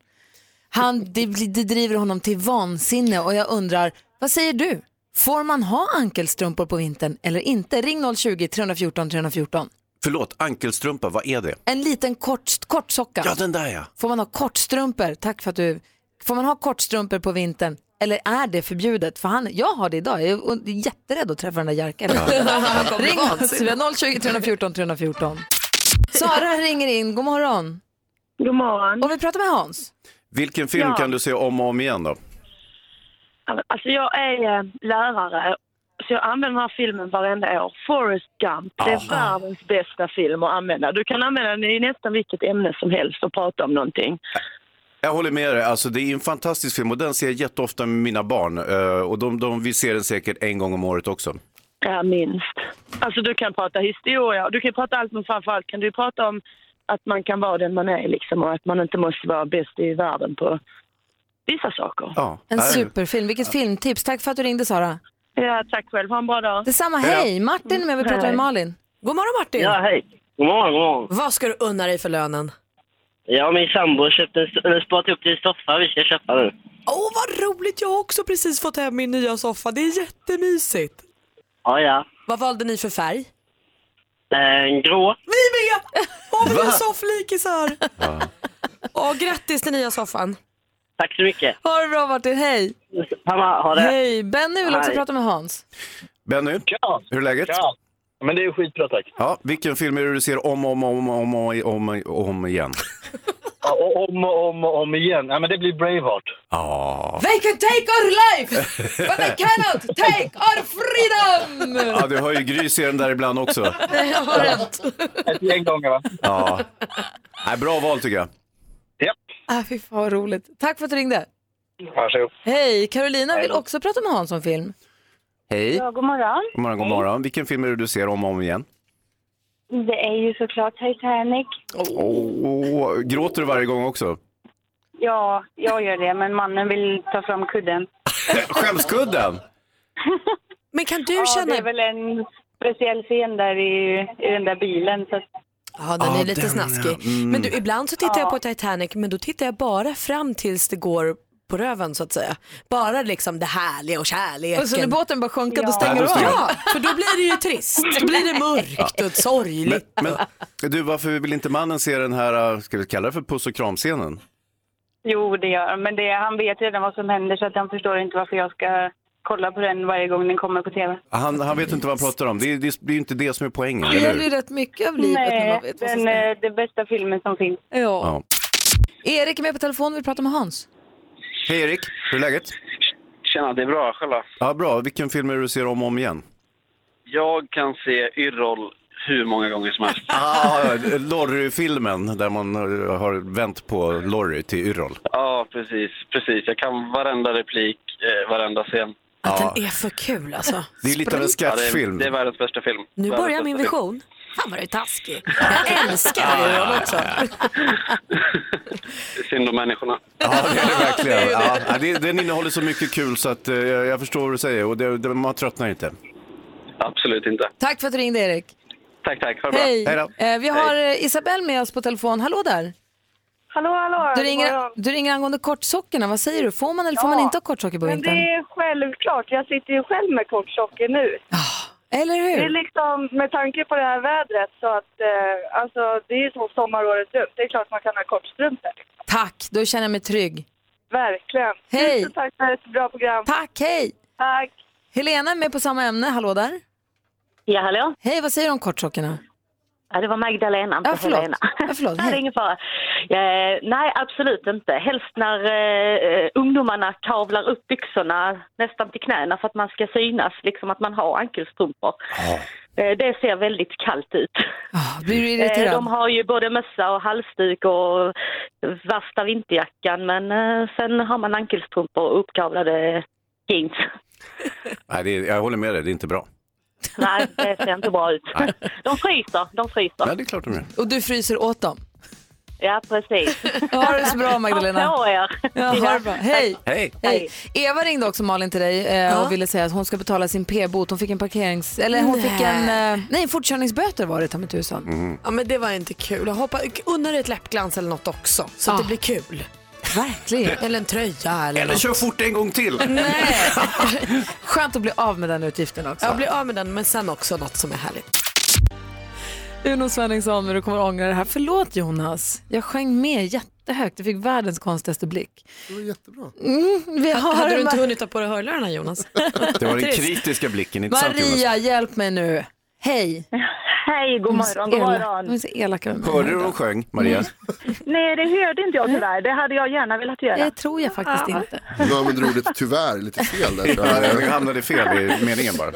Speaker 4: Han, det, blir- det driver honom till vansinne och jag undrar, vad säger du? Får man ha ankelstrumpor på vintern eller inte? Ring 020-314 314.
Speaker 6: Förlåt, ankelstrumpa, vad är det?
Speaker 4: En liten kort, kortsocka.
Speaker 6: Ja, den där ja.
Speaker 4: Får man ha kortstrumpor? Tack för att du... Får man ha kortstrumpor på vintern? Eller är det förbjudet? För han, jag har det idag. Jag är och- jätterädd att träffa den där Jerka. <laughs>
Speaker 1: Han kommer bli
Speaker 4: Ring oss.
Speaker 1: vansinnig.
Speaker 4: 020 314 314. Sara ringer in. God morgon.
Speaker 15: God morgon.
Speaker 4: Och vi pratar med Hans.
Speaker 6: Vilken film
Speaker 15: Ja.
Speaker 6: kan du se om och om igen då?
Speaker 15: Alltså jag är eh, lärare så jag använder den här filmen varenda år. Forrest Gump, det är världens bästa film att använda. Du kan använda den i nästan vilket ämne som helst och prata om någonting.
Speaker 6: Jag håller med dig, alltså, det är en fantastisk film och den ser jag jätteofta med mina barn. Eh, och de, de, vi ser den säkert en gång om året också.
Speaker 15: Ja, minst. Alltså du kan prata historia, du kan prata allt men framförallt kan du prata om att man kan vara den man är liksom och att man inte måste vara bäst i världen på vissa saker.
Speaker 6: Ja.
Speaker 4: En superfilm. Vilket filmtips. Tack för att du ringde Sara.
Speaker 15: Ja, tack själv. Ha en bra dag.
Speaker 4: Detsamma. Hej. Martin är med. Vi pratar
Speaker 5: Hej.
Speaker 4: med Malin.
Speaker 5: God morgon Martin!
Speaker 12: Ja, hej. God morgon, god morgon.
Speaker 5: Vad ska du unna dig för lönen?
Speaker 12: Jag och min sambo köpte en, eller sparat upp till en soffa vi ska köpa nu.
Speaker 1: Åh, vad roligt! Jag har också precis fått hem min nya soffa. Det är jättemysigt.
Speaker 12: Ja, ja.
Speaker 5: Vad valde ni för färg?
Speaker 12: Eh, grå.
Speaker 1: Vi med! Har vi
Speaker 12: Va?
Speaker 1: några sofflikisar?
Speaker 5: Åh, grattis till nya soffan.
Speaker 12: Tack så mycket.
Speaker 4: Ha det bra Martin. Hej.
Speaker 12: Samma, ha det.
Speaker 4: Hej. Benny vill också
Speaker 12: Hej.
Speaker 4: prata med Hans.
Speaker 6: Benny, hur är läget? Ja.
Speaker 12: Men det är skitbra tack.
Speaker 6: Ja, vilken film är det du ser om och om, om, om, om, om, om igen?
Speaker 12: Ja, och om och om och om igen. Ja, men det blir Braveheart.
Speaker 6: Ja.
Speaker 4: They can take our life, but they cannot take our freedom!
Speaker 6: ja, du hör ju Gry ser den där ibland också.
Speaker 4: Jag har rätt.
Speaker 12: Ett gäng gånger va?
Speaker 6: Ja. Nej, bra val tycker jag.
Speaker 4: Ah, fy fan vad roligt. Tack för att du ringde.
Speaker 12: Varsågod.
Speaker 4: Hej, Carolina vill också prata med Hans om film.
Speaker 6: Hej.
Speaker 11: Ja, god morgon.
Speaker 6: God morgon, god morgon. Vilken film är det du ser om och om igen?
Speaker 11: Det är ju såklart Titanic.
Speaker 6: Åh, gråter du varje gång också?
Speaker 11: Ja, jag gör det, men mannen vill ta fram kudden.
Speaker 6: Eh, Skämskudden!
Speaker 5: Men kan du
Speaker 11: ja,
Speaker 5: känna-
Speaker 11: det är väl en speciell scen där i, i den där bilen. Så... att-
Speaker 5: Ja, Mm. den är lite snaskig. Men du, ibland så tittar jag på Titanic men då tittar jag bara fram tills det går på röven så att säga. Bara liksom det härliga och kärleken.
Speaker 4: Och så när båten börjar sjunka, då stänger
Speaker 6: Ja,
Speaker 4: du
Speaker 6: då
Speaker 4: av?
Speaker 6: stänger jag
Speaker 5: Ja, för då blir det ju trist. Då blir <laughs> det mörkt och sorgligt.
Speaker 6: Men, men du, varför vill inte mannen se den här, eh, ska vi kalla det för puss och kramscenen?
Speaker 11: Jo, det gör han, men det, han vet redan vad som händer så att han förstår inte varför jag ska kolla på den varje gång den kommer på tv.
Speaker 6: Han, han vet inte vad han pratar om, det är, det är ju inte det som är poängen,
Speaker 4: Det
Speaker 6: eller
Speaker 4: gäller
Speaker 6: hur?
Speaker 4: ju rätt mycket av livet när man
Speaker 11: Nej,
Speaker 4: vet vad som
Speaker 11: den,
Speaker 4: ska-
Speaker 11: eh, den bästa filmen som finns.
Speaker 4: Ja.
Speaker 6: Ja.
Speaker 4: Erik är med på telefon och vill prata med Hans.
Speaker 6: Hej Erik, hur är läget?
Speaker 14: Tjena, det är bra. Själva?
Speaker 6: Ja, bra. Vilken film är det du ser om och om igen?
Speaker 14: Jag kan se Yrrol hur många gånger som helst.
Speaker 6: Ah, Lorry-filmen, där man eh, har vänt på Lorry till Yrrol.
Speaker 14: Ja, precis. precis. Jag kan varenda replik, eh, varenda scen.
Speaker 5: Att den är för kul alltså.
Speaker 6: Det är lite av en
Speaker 14: Ja, det, är,
Speaker 6: sketchfilm.
Speaker 14: det är världens bästa film.
Speaker 5: Nu
Speaker 14: Världens
Speaker 5: börjar min
Speaker 14: bästa film.
Speaker 5: vision. Fan vad du är taskig. Jag älskar Yrrol också.
Speaker 14: Det är Synd om människorna.
Speaker 6: Ja, det är
Speaker 14: <laughs>
Speaker 6: det verkligen. Ja, ja, det, den innehåller så mycket kul så att eh, jag jag förstår vad du säger och det, det, man tröttnar inte.
Speaker 14: Absolut inte.
Speaker 4: Tack för att du ringde Erik.
Speaker 14: Tack, tack. Ha det bra.
Speaker 4: Hej. Eh, vi har eh, Isabel med oss på telefon. Hallå där.
Speaker 11: Hallå, hallå.
Speaker 4: Du
Speaker 11: god
Speaker 4: ringer,
Speaker 11: morgon.
Speaker 4: du ringer angående kortsockorna. Vad säger du? Får man eller får
Speaker 11: Ja,
Speaker 4: man inte ha kortsockor på
Speaker 11: Men det
Speaker 4: vintern?
Speaker 11: är självklart. Jag sitter ju själv med kortsocker nu.
Speaker 4: Eller hur?
Speaker 11: Det är liksom, med tanke på det här vädret så att, eh, alltså det är ju så sommar året runt. Det är klart man kan ha kortstrumpor.
Speaker 4: Tack, då känner jag mig trygg.
Speaker 11: Verkligen.
Speaker 4: Hej.
Speaker 11: Tusen tack för ett bra program.
Speaker 4: Tack, hej!
Speaker 11: Tack.
Speaker 4: Helena är med på samma ämne. Hallå där.
Speaker 16: Ja, hallå.
Speaker 4: Hej, vad säger du om kortsockorna?
Speaker 11: Ja, det var Magdalena, inte
Speaker 17: Ja, förlåt.
Speaker 11: Helena.
Speaker 17: Ja, förlåt.
Speaker 11: Nej, det är ingen fara. Eh, nej, absolut inte. Helst när eh, ungdomarna kavlar upp byxorna nästan till knäna för att man ska synas, liksom att man har ankelstrumpor. Eh, det ser väldigt kallt ut.
Speaker 4: Blir du
Speaker 11: Eh,
Speaker 4: irriterad?
Speaker 11: de har ju både mössa och halsduk och värsta vinterjackan, men eh, sen har man ankelstrumpor och uppkavlade jeans.
Speaker 6: Nej, det är, jag håller med dig, det är inte bra.
Speaker 11: nej, det ser inte bra ut. De fryser, de fryser.
Speaker 6: Nej, det är klart de är.
Speaker 4: Och du fryser åt dem?
Speaker 11: Ja, precis.
Speaker 4: Ha det så <laughs> bra Magdalena.
Speaker 11: Ha på er.
Speaker 4: Ja, ha det bra. Hej.
Speaker 6: Hej.
Speaker 4: Hej. Eva ringde också Malin till dig eh,
Speaker 11: Ja.
Speaker 4: och ville säga att hon ska betala sin p-bot. Hon fick en parkerings... Eller hon fick en... eh, nej, en fortkörningsböter var det ta mig tusan.
Speaker 5: Ja men det var inte kul. Hoppa, unna dig ett läppglans eller något också så att det blir kul. <laughs>
Speaker 4: Verkligen.
Speaker 5: Eller en tröja eller,
Speaker 6: Eller
Speaker 5: något.
Speaker 6: kör fort en
Speaker 14: <laughs>
Speaker 6: gång till.
Speaker 4: Skönt att bli av med den utgiften också.
Speaker 5: Ja, bli av med den men sen också något som är härligt.
Speaker 4: Uno Svenningsson, du kommer ångra det här. Förlåt Jonas, jag sjöng med jättehögt. Du fick världens konstigaste blick.
Speaker 9: Det var jättebra.
Speaker 4: Mm, vi har
Speaker 5: Hade du inte
Speaker 4: Ma-
Speaker 5: hunnit ta på dig hörlurarna Jonas?
Speaker 6: Det var den
Speaker 4: Trist.
Speaker 6: kritiska blicken, inte sant Jonas?
Speaker 4: Maria, hjälp mig nu. Hej.
Speaker 7: Hej, god
Speaker 4: De är så
Speaker 7: morgon, god
Speaker 4: elak-
Speaker 7: morgon.
Speaker 4: De är så elaka med mig.
Speaker 6: Hörde du hur hon sjöng, Maria?
Speaker 14: Mm.
Speaker 7: Nej, det hörde inte jag tyvärr. Det hade jag gärna velat göra.
Speaker 4: Det tror jag faktiskt inte.
Speaker 9: Du använder ordet tyvärr lite fel där.
Speaker 6: Ja, jag hamnade fel i meningen bara.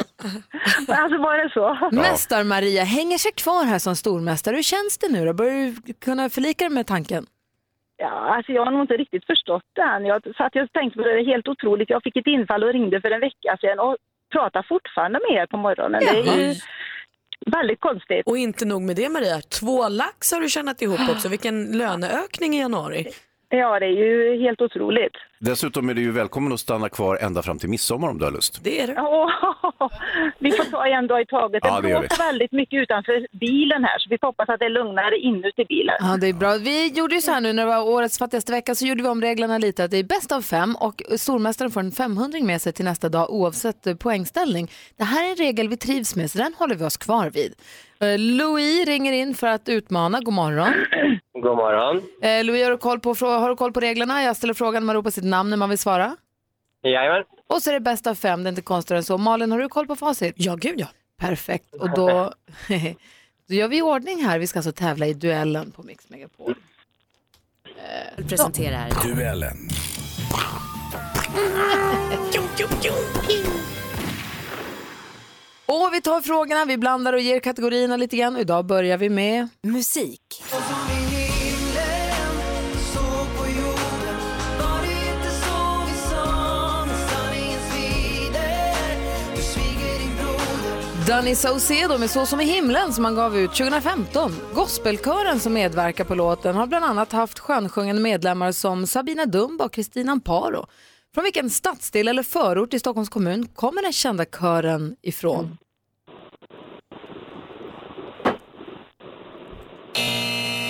Speaker 7: Alltså var det så?
Speaker 6: Mm.
Speaker 4: Mästar-Maria hänger sig kvar här som stormästare. Hur känns det nu då? Börjar du kunna förlika dig med tanken?
Speaker 7: Ja, alltså jag har nog inte riktigt förstått det än. Jag satt och tänkte på det, det är helt otroligt. Jag fick ett infall och ringde för en vecka sedan och pratar fortfarande med er på morgonen. Det är ju väldigt konstigt.
Speaker 5: Och inte nog med det Maria, två lax har du tjänat ihop också. Vilken löneökning i januari.
Speaker 7: Ja, det är ju helt otroligt.
Speaker 6: Dessutom är du ju välkommen att stanna kvar ända fram till midsommar om du har lust.
Speaker 5: Det är det.
Speaker 7: vi får ta en dag i taget.
Speaker 6: Ja,
Speaker 7: Det
Speaker 6: det gör vi.
Speaker 7: blåser väldigt mycket utanför bilen här så vi får hoppas att det är lugnare inuti bilen.
Speaker 4: Ja, det är bra. Vi gjorde ju så här nu när det var årets fattigaste vecka så gjorde vi om reglerna lite att det är bäst av fem och stormästaren får en 500 med sig till nästa dag oavsett eh, poängställning. Det här är en regel vi trivs med så den håller vi oss kvar vid. Eh, Louis ringer in för att utmana. God morgon.
Speaker 14: God morgon.
Speaker 4: Eh, Louis, har du, koll på, frå- har du koll på reglerna? Jag ställer frågan, man ropar sitt namn när man vill svara.
Speaker 14: Jajamän.
Speaker 4: Och så är det bäst av fem, det är inte konstigare än så. Malin, har du koll på facit?
Speaker 5: Ja, gud ja.
Speaker 4: Perfekt. Och då, <laughs> då gör vi i ordning här. Vi ska alltså tävla i duellen på Mix Megapol. Eh,
Speaker 10: Presenterar.
Speaker 1: Duellen.
Speaker 4: Och vi tar frågorna, vi blandar och ger kategorierna lite grann. Och Idag börjar vi med musik. Danny Saucedo med Så som i himlen som han gav ut 2015. Gospelkören som medverkar på låten har bland annat haft skönsjungande medlemmar som Sabina Dumba och Kristina Amparo. Från vilken stadsdel eller förort i Stockholms kommun kommer den kända kören ifrån?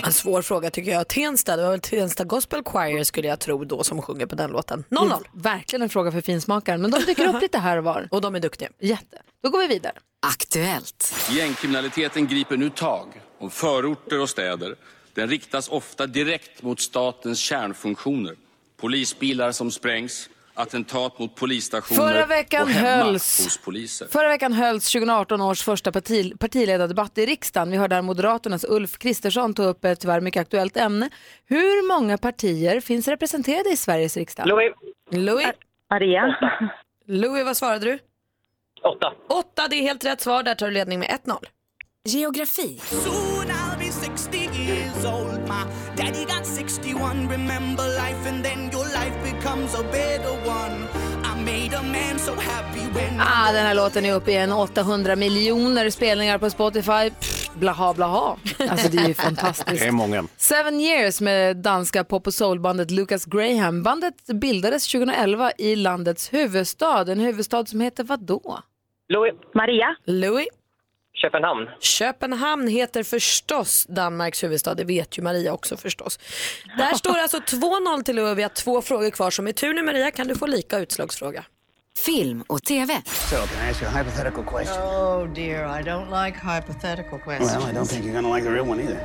Speaker 5: En svår fråga tycker jag. Tensta, det var väl Tensta Gospel Choir skulle jag tro då som sjunger på den låten. 0-0.
Speaker 4: Mm. Verkligen en fråga för finsmakaren, men de dyker upp lite här och var.
Speaker 5: Och de är duktiga.
Speaker 4: Jätte. Då går vi vidare.
Speaker 10: Aktuellt.
Speaker 18: Gängkriminaliteten griper nu tag om förorter och städer. Den riktas ofta direkt mot statens kärnfunktioner. Polisbilar som sprängs, attentat mot polisstationer
Speaker 4: Förra veckan
Speaker 18: och hemma
Speaker 4: hölls-
Speaker 18: hos poliser.
Speaker 4: Förra veckan hölls 2018 års första parti, partiledardebatt i riksdagen. Vi hörde där Moderaternas Ulf Kristersson ta upp ett tyvärr mycket aktuellt ämne. Hur många partier finns representerade i Sveriges riksdag?
Speaker 5: Louis. Louis.
Speaker 7: Maria.
Speaker 5: Louis, vad svarade du? Åtta. Åtta, det är helt rätt svar. Där tar du ledning med 1-0.
Speaker 10: Geografi.
Speaker 19: Soon I'll be 60 years old. My daddy got 61. Remember life, and then your life becomes a better one. I made a man so happy when.
Speaker 4: Ah, den här låten är uppe i en 800 miljoner spelningar på Spotify. Pff, blaha, blaha. Alltså det är ju fantastiskt.
Speaker 6: Det är många.
Speaker 4: Seven Years med danska pop och soulbandet Lucas Graham. Bandet bildades 2011 i landets huvudstad. En huvudstad som heter vadå?
Speaker 5: Louis.
Speaker 7: Maria.
Speaker 5: Louis.
Speaker 14: Köpenhamn.
Speaker 5: Köpenhamn heter förstås Danmarks huvudstad, det vet ju Maria också förstås. Där står det alltså 2-0 till Louis och vi har två frågor kvar. Som i tur nu Maria kan du få lika utslagsfråga.
Speaker 10: Film och TV.
Speaker 1: So, can I ask you a hypothetical question?
Speaker 20: Oh dear, I don't like hypothetical questions.
Speaker 1: Well, I don't think you're going to like the real one either.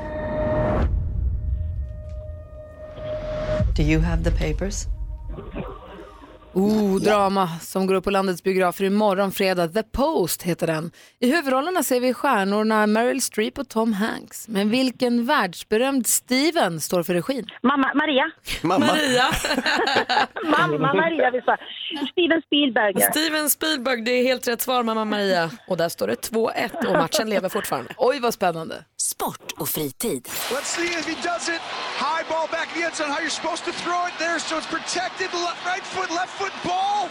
Speaker 20: Do you have the papers?
Speaker 4: Oh, drama som går upp på landets biografer imorgon fredag. The Post heter den. I huvudrollerna ser vi stjärnorna Meryl Streep och Tom Hanks. Men vilken världsberömd Steven står för regin?
Speaker 11: Mamma Maria.
Speaker 6: Mamma.
Speaker 11: Maria. Mamma Maria vi sa. Steven Spielberger.
Speaker 5: Steven Spielberg, det är helt rätt svar mamma Maria. Och där står det 2-1 och matchen lever fortfarande.
Speaker 4: <laughs> Oj vad spännande.
Speaker 21: Sport och fritid.
Speaker 1: Let's see if he does it. High ball back in the end zone. How you're supposed to throw it there, so it's protected. Le- right foot, left foot ball.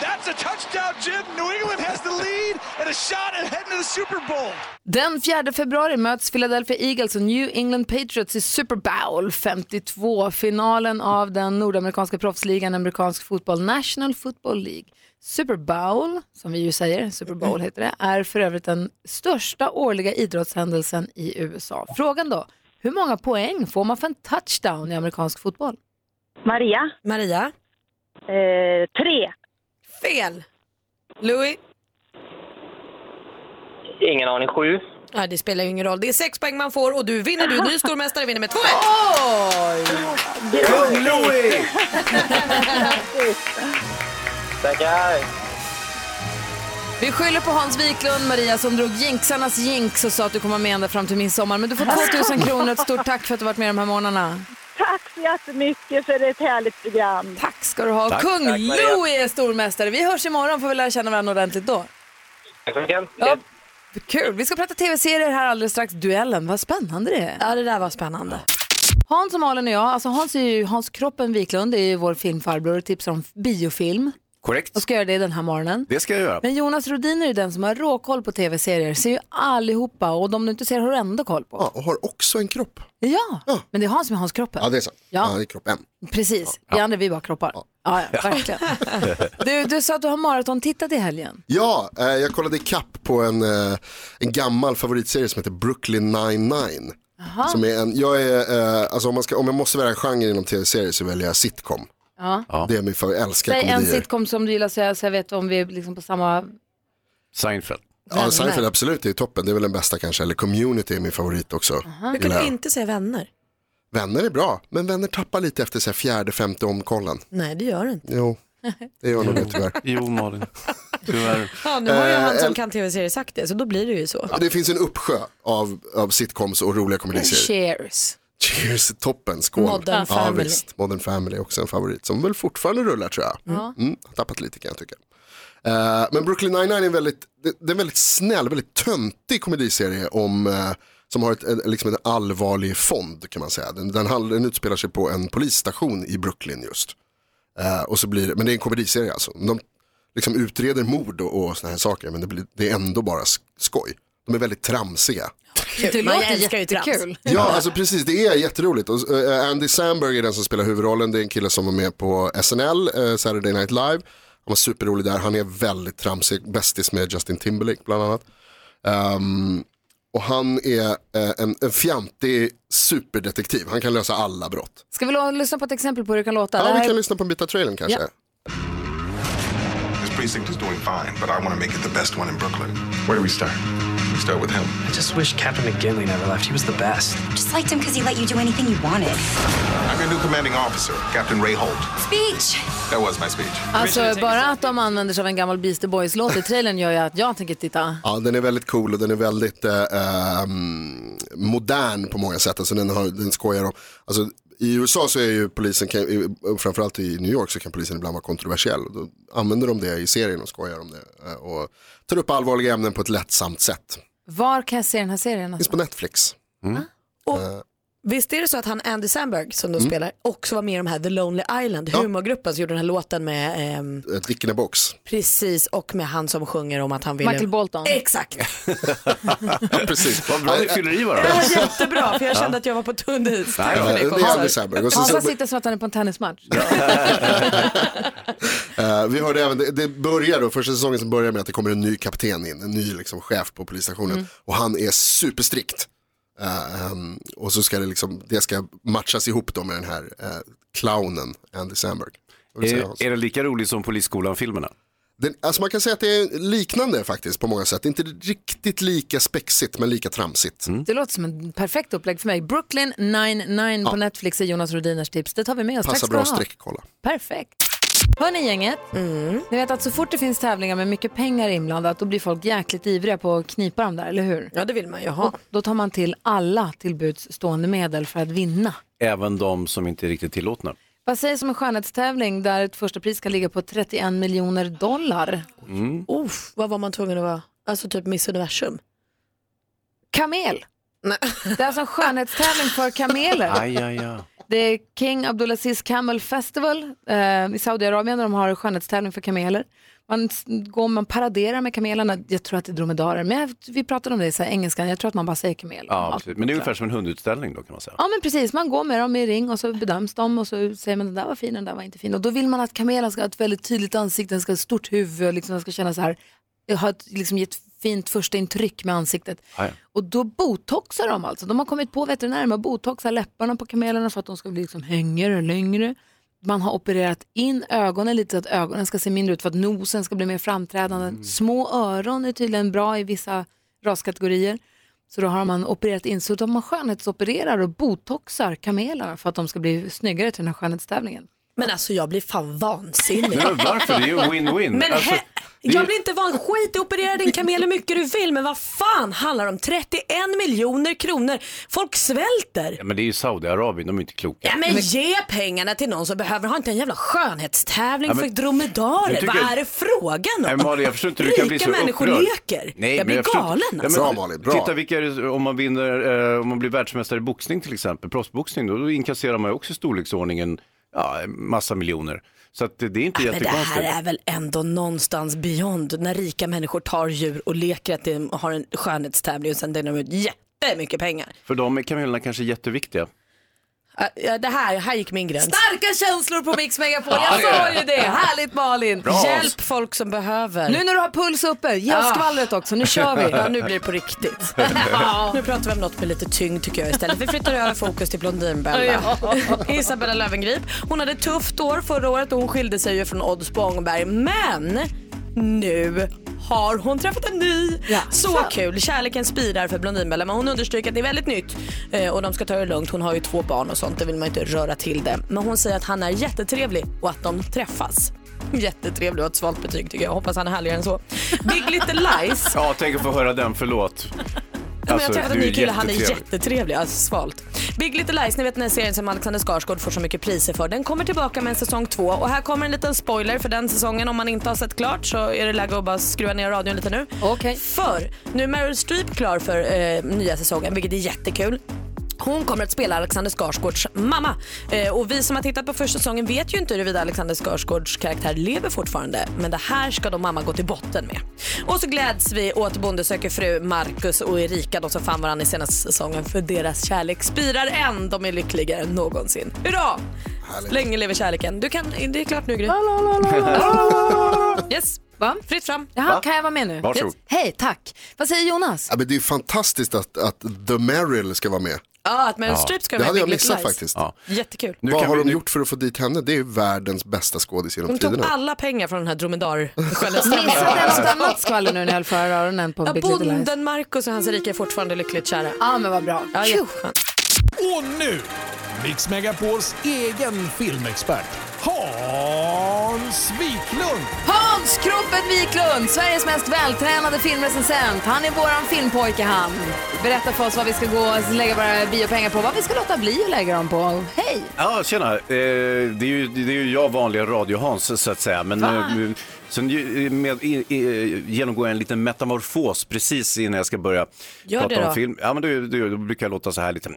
Speaker 1: That's a touchdown, Jim. New England has the lead and a shot at heading to the Super Bowl.
Speaker 4: Den 4 februari möts Philadelphia Eagles och New England Patriots i Super Bowl 52. Finalen av den nordamerikanska proffsligan amerikansk fotboll, National Football League. Super Bowl, som vi ju säger, Super Bowl heter det, är för övrigt den största årliga idrottshändelsen i USA. Frågan då, hur många poäng får man för en touchdown i amerikansk fotboll?
Speaker 11: Maria. eh,
Speaker 5: Maria.
Speaker 11: tre.
Speaker 5: Fel. Louis?
Speaker 14: Ingen aning. Sju.
Speaker 5: Nej, det spelar ju ingen roll. Det är sex poäng man får och du vinner. Du är ny stormästare vinner med 2-1.
Speaker 6: Kung Louis!
Speaker 14: Tackar.
Speaker 4: Vi skyller på Hans Wiklund, Maria, som drog jinxarnas jinx och sa att du kommer med ända fram till midsommar. Men du får 2000 kronor. Ett stort tack för att du varit med de här morgnarna.
Speaker 11: Tack så jättemycket för ett härligt program.
Speaker 4: Tack ska du ha.
Speaker 11: Tack,
Speaker 4: Kung
Speaker 11: tack, Maria.
Speaker 4: Louis är stormästare. Vi hörs imorgon får vi lära känna varandra ordentligt då.
Speaker 14: Tack så mycket.
Speaker 4: Ja, kul. Vi ska prata tv-serier här alldeles strax. Duellen, vad spännande det är.
Speaker 5: Ja, det där var spännande.
Speaker 4: Hans och Malin och jag, alltså Hans är ju Hans Kroppen Wiklund, det är ju vår filmfarbror och tipsar om biofilm.
Speaker 6: Korrekt.
Speaker 4: Och ska göra det den här morgonen.
Speaker 6: Det ska jag göra.
Speaker 4: Men Jonas Rhodin är ju den som har råkoll på tv-serier, ser ju allihopa och de du inte ser har du ändå koll på.
Speaker 9: Ja, och har också en kropp.
Speaker 4: Ja, men det är han som är Hans Kroppen.
Speaker 9: Ja, det är sant.
Speaker 4: Ja.
Speaker 9: Ja, det är kropp M.
Speaker 4: Precis, vi andra vi bara kroppar. Ja, ja,
Speaker 9: <laughs>
Speaker 4: verkligen. Du, du sa att du har maraton tittat i helgen.
Speaker 9: Ja, eh, jag kollade i kapp på en, eh, en gammal favoritserie som heter Brooklyn 99.
Speaker 4: Jaha.
Speaker 9: Som är en, jag är, eh, alltså om, man ska, om jag måste välja en genre inom tv-serier så väljer jag sitcom.
Speaker 4: Ja.
Speaker 9: Det är min favorit, jag älskar
Speaker 4: Säg en
Speaker 9: komedier.
Speaker 4: sitcom som du gillar så jag, så jag vet om vi är liksom på samma...
Speaker 6: Seinfeld.
Speaker 9: Ja, Seinfeld absolut, det är toppen. Det är väl den bästa kanske. Eller Community är min favorit också.
Speaker 5: Du
Speaker 9: Gillar
Speaker 5: kunde
Speaker 9: jag.
Speaker 5: inte säga vänner.
Speaker 9: Vänner är bra, men vänner tappar lite efter så här, fjärde, femte omkollen.
Speaker 5: Nej, det gör du inte.
Speaker 9: Jo, det gör nog det tyvärr.
Speaker 6: Jo, Malin. Tyvärr.
Speaker 5: Ja, nu har ju
Speaker 9: Eh,
Speaker 5: han som
Speaker 9: el-
Speaker 5: kan tv-serier sagt det, så då blir det ju så.
Speaker 9: Det finns en uppsjö av, av sitcoms och roliga komediserier.
Speaker 4: Cheers.
Speaker 9: Cheers, toppen, skål.
Speaker 5: Modern
Speaker 9: ja,
Speaker 5: Family.
Speaker 9: visst. Modern Family är också en favorit som väl fortfarande rullar tror jag.
Speaker 4: Ja.
Speaker 9: Mm, har tappat lite kan jag tycka. Eh, men Brooklyn Nine-Nine är en väldigt, det, det är en väldigt snäll, väldigt töntig komediserie om, eh, som har ett, en- liksom en allvarlig fond kan man säga. Den, den, handlar- den utspelar sig på en polisstation i Brooklyn just. Eh, och så blir det, men det är en komediserie alltså. De liksom utreder mord och, och såna här saker men det, blir, det är ändå bara sk- skoj. De är väldigt tramsiga.
Speaker 4: Det
Speaker 5: Man
Speaker 4: låter
Speaker 5: älskar ju trams.
Speaker 4: jättekul.
Speaker 9: Ja, alltså precis, det är jätteroligt. Och, eh, Andy Samberg är den som spelar huvudrollen, det är en kille som var med på SNL, eh, Saturday Night Live. Han var superrolig där, han är väldigt tramsig, bästis med Justin Timberlake bland annat. Ehm, och han är eh, en, en fjantig superdetektiv, han kan lösa alla brott.
Speaker 4: Ska vi lo- lyssna på ett exempel på hur det kan låta? Det
Speaker 9: Ja,
Speaker 4: här-
Speaker 9: vi kan lyssna på en bit av trailern kanske.
Speaker 4: Ja.
Speaker 2: This precinct is doing fine, but I want to make it the best one in Brooklyn. Where do we start? We start with him.
Speaker 22: I just wish Captain McGinley never left. He was the best.
Speaker 2: Just liked him because he let you do anything you wanted. I'm your new commanding officer, Captain Ray Holt. Speech! That was my speech.
Speaker 4: Alltså bara att de använder sig av en gammal Beastie Boys-låt i trailern gör ju att jag tänker titta.
Speaker 9: Ja, den är väldigt cool och den är väldigt eh, ehm, modern på många sätt. Alltså den, har, den skojar om, alltså, i USA så är ju polisen, kan, i- framförallt i New York så kan polisen ibland vara kontroversiell. Då använder de det i serien och skojar om det. eh, Och tar upp allvarliga ämnen på ett lättsamt sätt.
Speaker 4: Var kan jag se den här serien?
Speaker 9: Finns
Speaker 4: Alltså?
Speaker 9: på Netflix. Eh,
Speaker 5: Ah,
Speaker 9: Mm.
Speaker 5: Visst är det så att han Andy Samberg som då spelar också var med i de här The Lonely Island, humorgruppen som gjorde den här låten med ehm,
Speaker 9: eh, Dick in a box.
Speaker 5: Precis, och med han som sjunger om att han vill...
Speaker 4: Michael Bolton.
Speaker 5: Exakt.
Speaker 9: ja, precis.
Speaker 6: Vad bra ni fyller i
Speaker 5: Det
Speaker 6: varandra.
Speaker 5: var jättebra, för jag kände att jag var på tunn is. Tack
Speaker 9: Ja,
Speaker 5: för
Speaker 9: det är
Speaker 5: det, kompisar.
Speaker 9: Andy Samberg. Och så-
Speaker 4: Hansa sitter som att han är på en tennismatch.
Speaker 9: Eh, vi hörde även, det, det börjar då, första säsongen som börjar med att det kommer en ny kapten in, en ny liksom, chef på polisstationen
Speaker 4: Mm.
Speaker 9: och han är superstrikt. Eh, ehm, och så ska det liksom, det ska matchas ihop då med den här eh, clownen Andy Samberg. Vad vill du säga, Hans?
Speaker 6: Är, är det lika roligt som Polisskolan-filmerna?
Speaker 9: Den, alltså man kan säga att det är liknande faktiskt på många sätt, inte riktigt lika spexigt men lika tramsigt.
Speaker 4: Det låter som en perfekt upplägg för mig. Brooklyn 99 på Netflix är Jonas Rodiners tips. Det tar vi med oss. Tack
Speaker 9: Passar
Speaker 4: ska
Speaker 9: bra
Speaker 4: du ha.
Speaker 9: streckkolla.
Speaker 4: Perfekt. Hörni gänget,
Speaker 5: Mm.
Speaker 4: ni vet att så fort det finns tävlingar med mycket pengar inblandat då blir folk jäkligt ivriga på att knipa dem där, eller hur?
Speaker 5: Ja, det vill man ju
Speaker 4: ha. Då tar man till alla till buds stående medel för att vinna.
Speaker 6: Även de som inte är riktigt tillåtna.
Speaker 4: Vad sägs om en skönhetstävling där ett första pris kan ligga på 31 miljoner dollar?
Speaker 6: Mm.
Speaker 5: Uff, vad var man tvungen att vara? Alltså typ Miss Universum.
Speaker 4: Kamel! Det är alltså en skönhetstävling för kameler.
Speaker 6: Aj, aj, aj.
Speaker 4: Det är King Abdulaziz Camel Festival eh, i Saudiarabien där de har skönhetstävling för kameler. Man s- går man paraderar med kamelerna, jag tror att det är dromedarer, men jag, vi pratade om det i så här engelskan, jag tror att man bara säger kamel.
Speaker 6: Ja, precis. Men det är ungefär som en hundutställning då kan man säga.
Speaker 4: Ja men precis, man går med dem i ring och så bedöms de och så säger man den där var fin, den där var inte fin. Och då vill man att kamelen ska ha ett väldigt tydligt ansikte, den ska ha ett stort huvud och liksom, den ska känna så här, ha ett, liksom, ge ett fint första intryck med ansiktet.
Speaker 6: Aj.
Speaker 4: Och då botoxar de alltså. De har kommit på veterinärer med att botoxa läpparna på kamelerna för att de ska bli liksom hängigare och längre. Man har opererat in ögonen lite så att ögonen ska se mindre ut för att nosen ska bli mer framträdande. Små öron är tydligen bra i vissa raskategorier. Så då har man opererat in, så då man skönhetsopererar och botoxar kamelerna för att de ska bli snyggare till den här skönhetstävlingen.
Speaker 5: Men alltså jag blir fan vansinnig.
Speaker 6: Nej, men varför? Det är ju win-win.
Speaker 5: Men
Speaker 6: Alltså,
Speaker 5: he-
Speaker 6: det är-
Speaker 5: jag blir inte van. Skit i operera din kamel hur mycket du vill. Men vad fan handlar det om? 31 miljoner kronor. Folk svälter.
Speaker 6: Ja, men det är ju Saudiarabien, de är inte kloka.
Speaker 5: Ja, men ge pengarna till någon som behöver. Ha inte en jävla skönhetstävling
Speaker 6: Ja, men-
Speaker 5: för
Speaker 6: Nu
Speaker 5: dromedarer.
Speaker 6: tycker
Speaker 5: Vad
Speaker 6: jag-
Speaker 5: är det frågan om?
Speaker 6: Nej, Malin, jag förstår inte hur du kan bli
Speaker 5: Rika
Speaker 6: så
Speaker 5: människor
Speaker 6: upprörd.
Speaker 5: leker. jag blir
Speaker 6: men förstår inte-
Speaker 5: galen.
Speaker 6: Ja, men
Speaker 5: alltså.
Speaker 6: Titta vilka, är det- om man vinner, eh, om man blir världsmästare i boxning till exempel, proffsboxning, då, då inkasserar man ju också i storleksordningen, ja, en massa miljoner. Så att det det är inte
Speaker 5: Men det
Speaker 6: jättekonstigt.
Speaker 5: här är väl ändå någonstans beyond när rika människor tar djur och leker att de har en skönhetstävling och sen delar de ut jättemycket pengar.
Speaker 6: För de är kamelerna kanske jätteviktiga.
Speaker 5: Äh, ja, Det här, här gick min gräns.
Speaker 4: Starka känslor på Mix Megapol,
Speaker 6: Ja,
Speaker 4: jag
Speaker 6: det är
Speaker 4: sa
Speaker 6: det.
Speaker 4: ju det. Härligt Malin!
Speaker 6: Bra.
Speaker 5: Hjälp folk som behöver.
Speaker 4: Nu när du har puls uppe, ge oss
Speaker 5: Ja.
Speaker 4: skvallret också, nu kör vi.
Speaker 5: Ja, nu blir det på riktigt. Nu pratar vi om något med lite tyngd tycker jag istället. Vi flyttar över fokus till Blondinbella.
Speaker 4: Ja.
Speaker 5: Isabella Löwengrip. Hon hade ett tufft år förra året och hon skilde sig ju från Odds Bångberg. Men nu har hon träffat en ny. Så kul. Kärleken spirar för Blondinbella men hon understryker att det är väldigt nytt eh, och de ska ta det lugnt. Hon har ju två barn och sånt, det vill man ju inte röra till det. Men hon säger att han är jättetrevlig och att de träffas. Jättetrevlig och ett svalt betyg tycker jag. Hoppas han är härligare än så. Big Little Lies
Speaker 6: Ja, tänk att få höra den, förlåt. Alltså,
Speaker 5: men jag har träffat en
Speaker 6: du
Speaker 5: ny kille, han är
Speaker 6: jättetrevlig.
Speaker 5: jättetrevlig. Alltså svalt. Big Little Lies, ni vet den här serien som Alexander Skarsgård får så mycket priser för. Den kommer tillbaka med en säsong två och här kommer en liten spoiler för den säsongen. Om man inte har sett klart så är det läge att bara skruva ner radion lite nu. För nu är Meryl Streep klar för eh, nya säsongen, vilket är jättekul. Hon kommer att spela Alexander Skarsgårds mamma. Eh, och vi som har tittat på första säsongen vet ju inte huruvida Alexander Skarsgårds karaktär lever fortfarande. Men det här ska de mamma gå till botten med. Och så gläds vi åt Bonde söker fru, Marcus och Erika, de som fann varandra i senaste säsongen. För deras kärlek spirar än. De är lyckligare än någonsin. Hurra! Länge lever kärleken. Du kan, det är klart nu Gry. Yes, Va? fritt fram.
Speaker 4: Jaha, kan jag vara med nu?
Speaker 9: Varsågod.
Speaker 4: Yes. Hej, tack. Vad säger Jonas?
Speaker 9: Ja, men det är ju fantastiskt att, att The Meryl ska vara med.
Speaker 5: Ja, att Meryl Streep ska
Speaker 9: det
Speaker 5: vara
Speaker 9: hade
Speaker 5: med i
Speaker 9: jag
Speaker 5: Big Little
Speaker 9: missat
Speaker 5: Lies.
Speaker 9: faktiskt.
Speaker 5: Jättekul.
Speaker 9: Vad har de gjort för att få dit henne? Det är ju världens bästa skådis genom
Speaker 5: De tog
Speaker 9: tiderna.
Speaker 5: alla pengar från den här dromedar
Speaker 4: Missade jag något annat skvaller nu när jag höll för öronen på
Speaker 5: Ja,
Speaker 4: Big Little Lies?
Speaker 5: bonden Marcus och hans rika är fortfarande lyckligt kära.
Speaker 4: Ja, men vad bra.
Speaker 5: Ja,
Speaker 4: Tjo.
Speaker 5: jätteskönt.
Speaker 14: Och nu, Mix Megapols egen filmexpert Hans Wiklund.
Speaker 4: Hans Kroppen Wiklund, Sveriges mest vältränade filmrecensent. Han är våran filmpojke han. Berätta för oss vad vi ska gå och lägga våra biopengar på, vad vi ska låta bli att lägga dem på. Hej!
Speaker 6: Ja, tjena. Eh, det, är ju, det är ju jag, vanliga radio-Hans, så att säga. Men eh, sen ju- med, i, i, genomgår jag en liten metamorfos precis innan jag ska börja
Speaker 23: Gör
Speaker 6: prata
Speaker 23: det
Speaker 6: om
Speaker 23: då.
Speaker 6: film. Ja, men då, då, då brukar jag låta så här lite.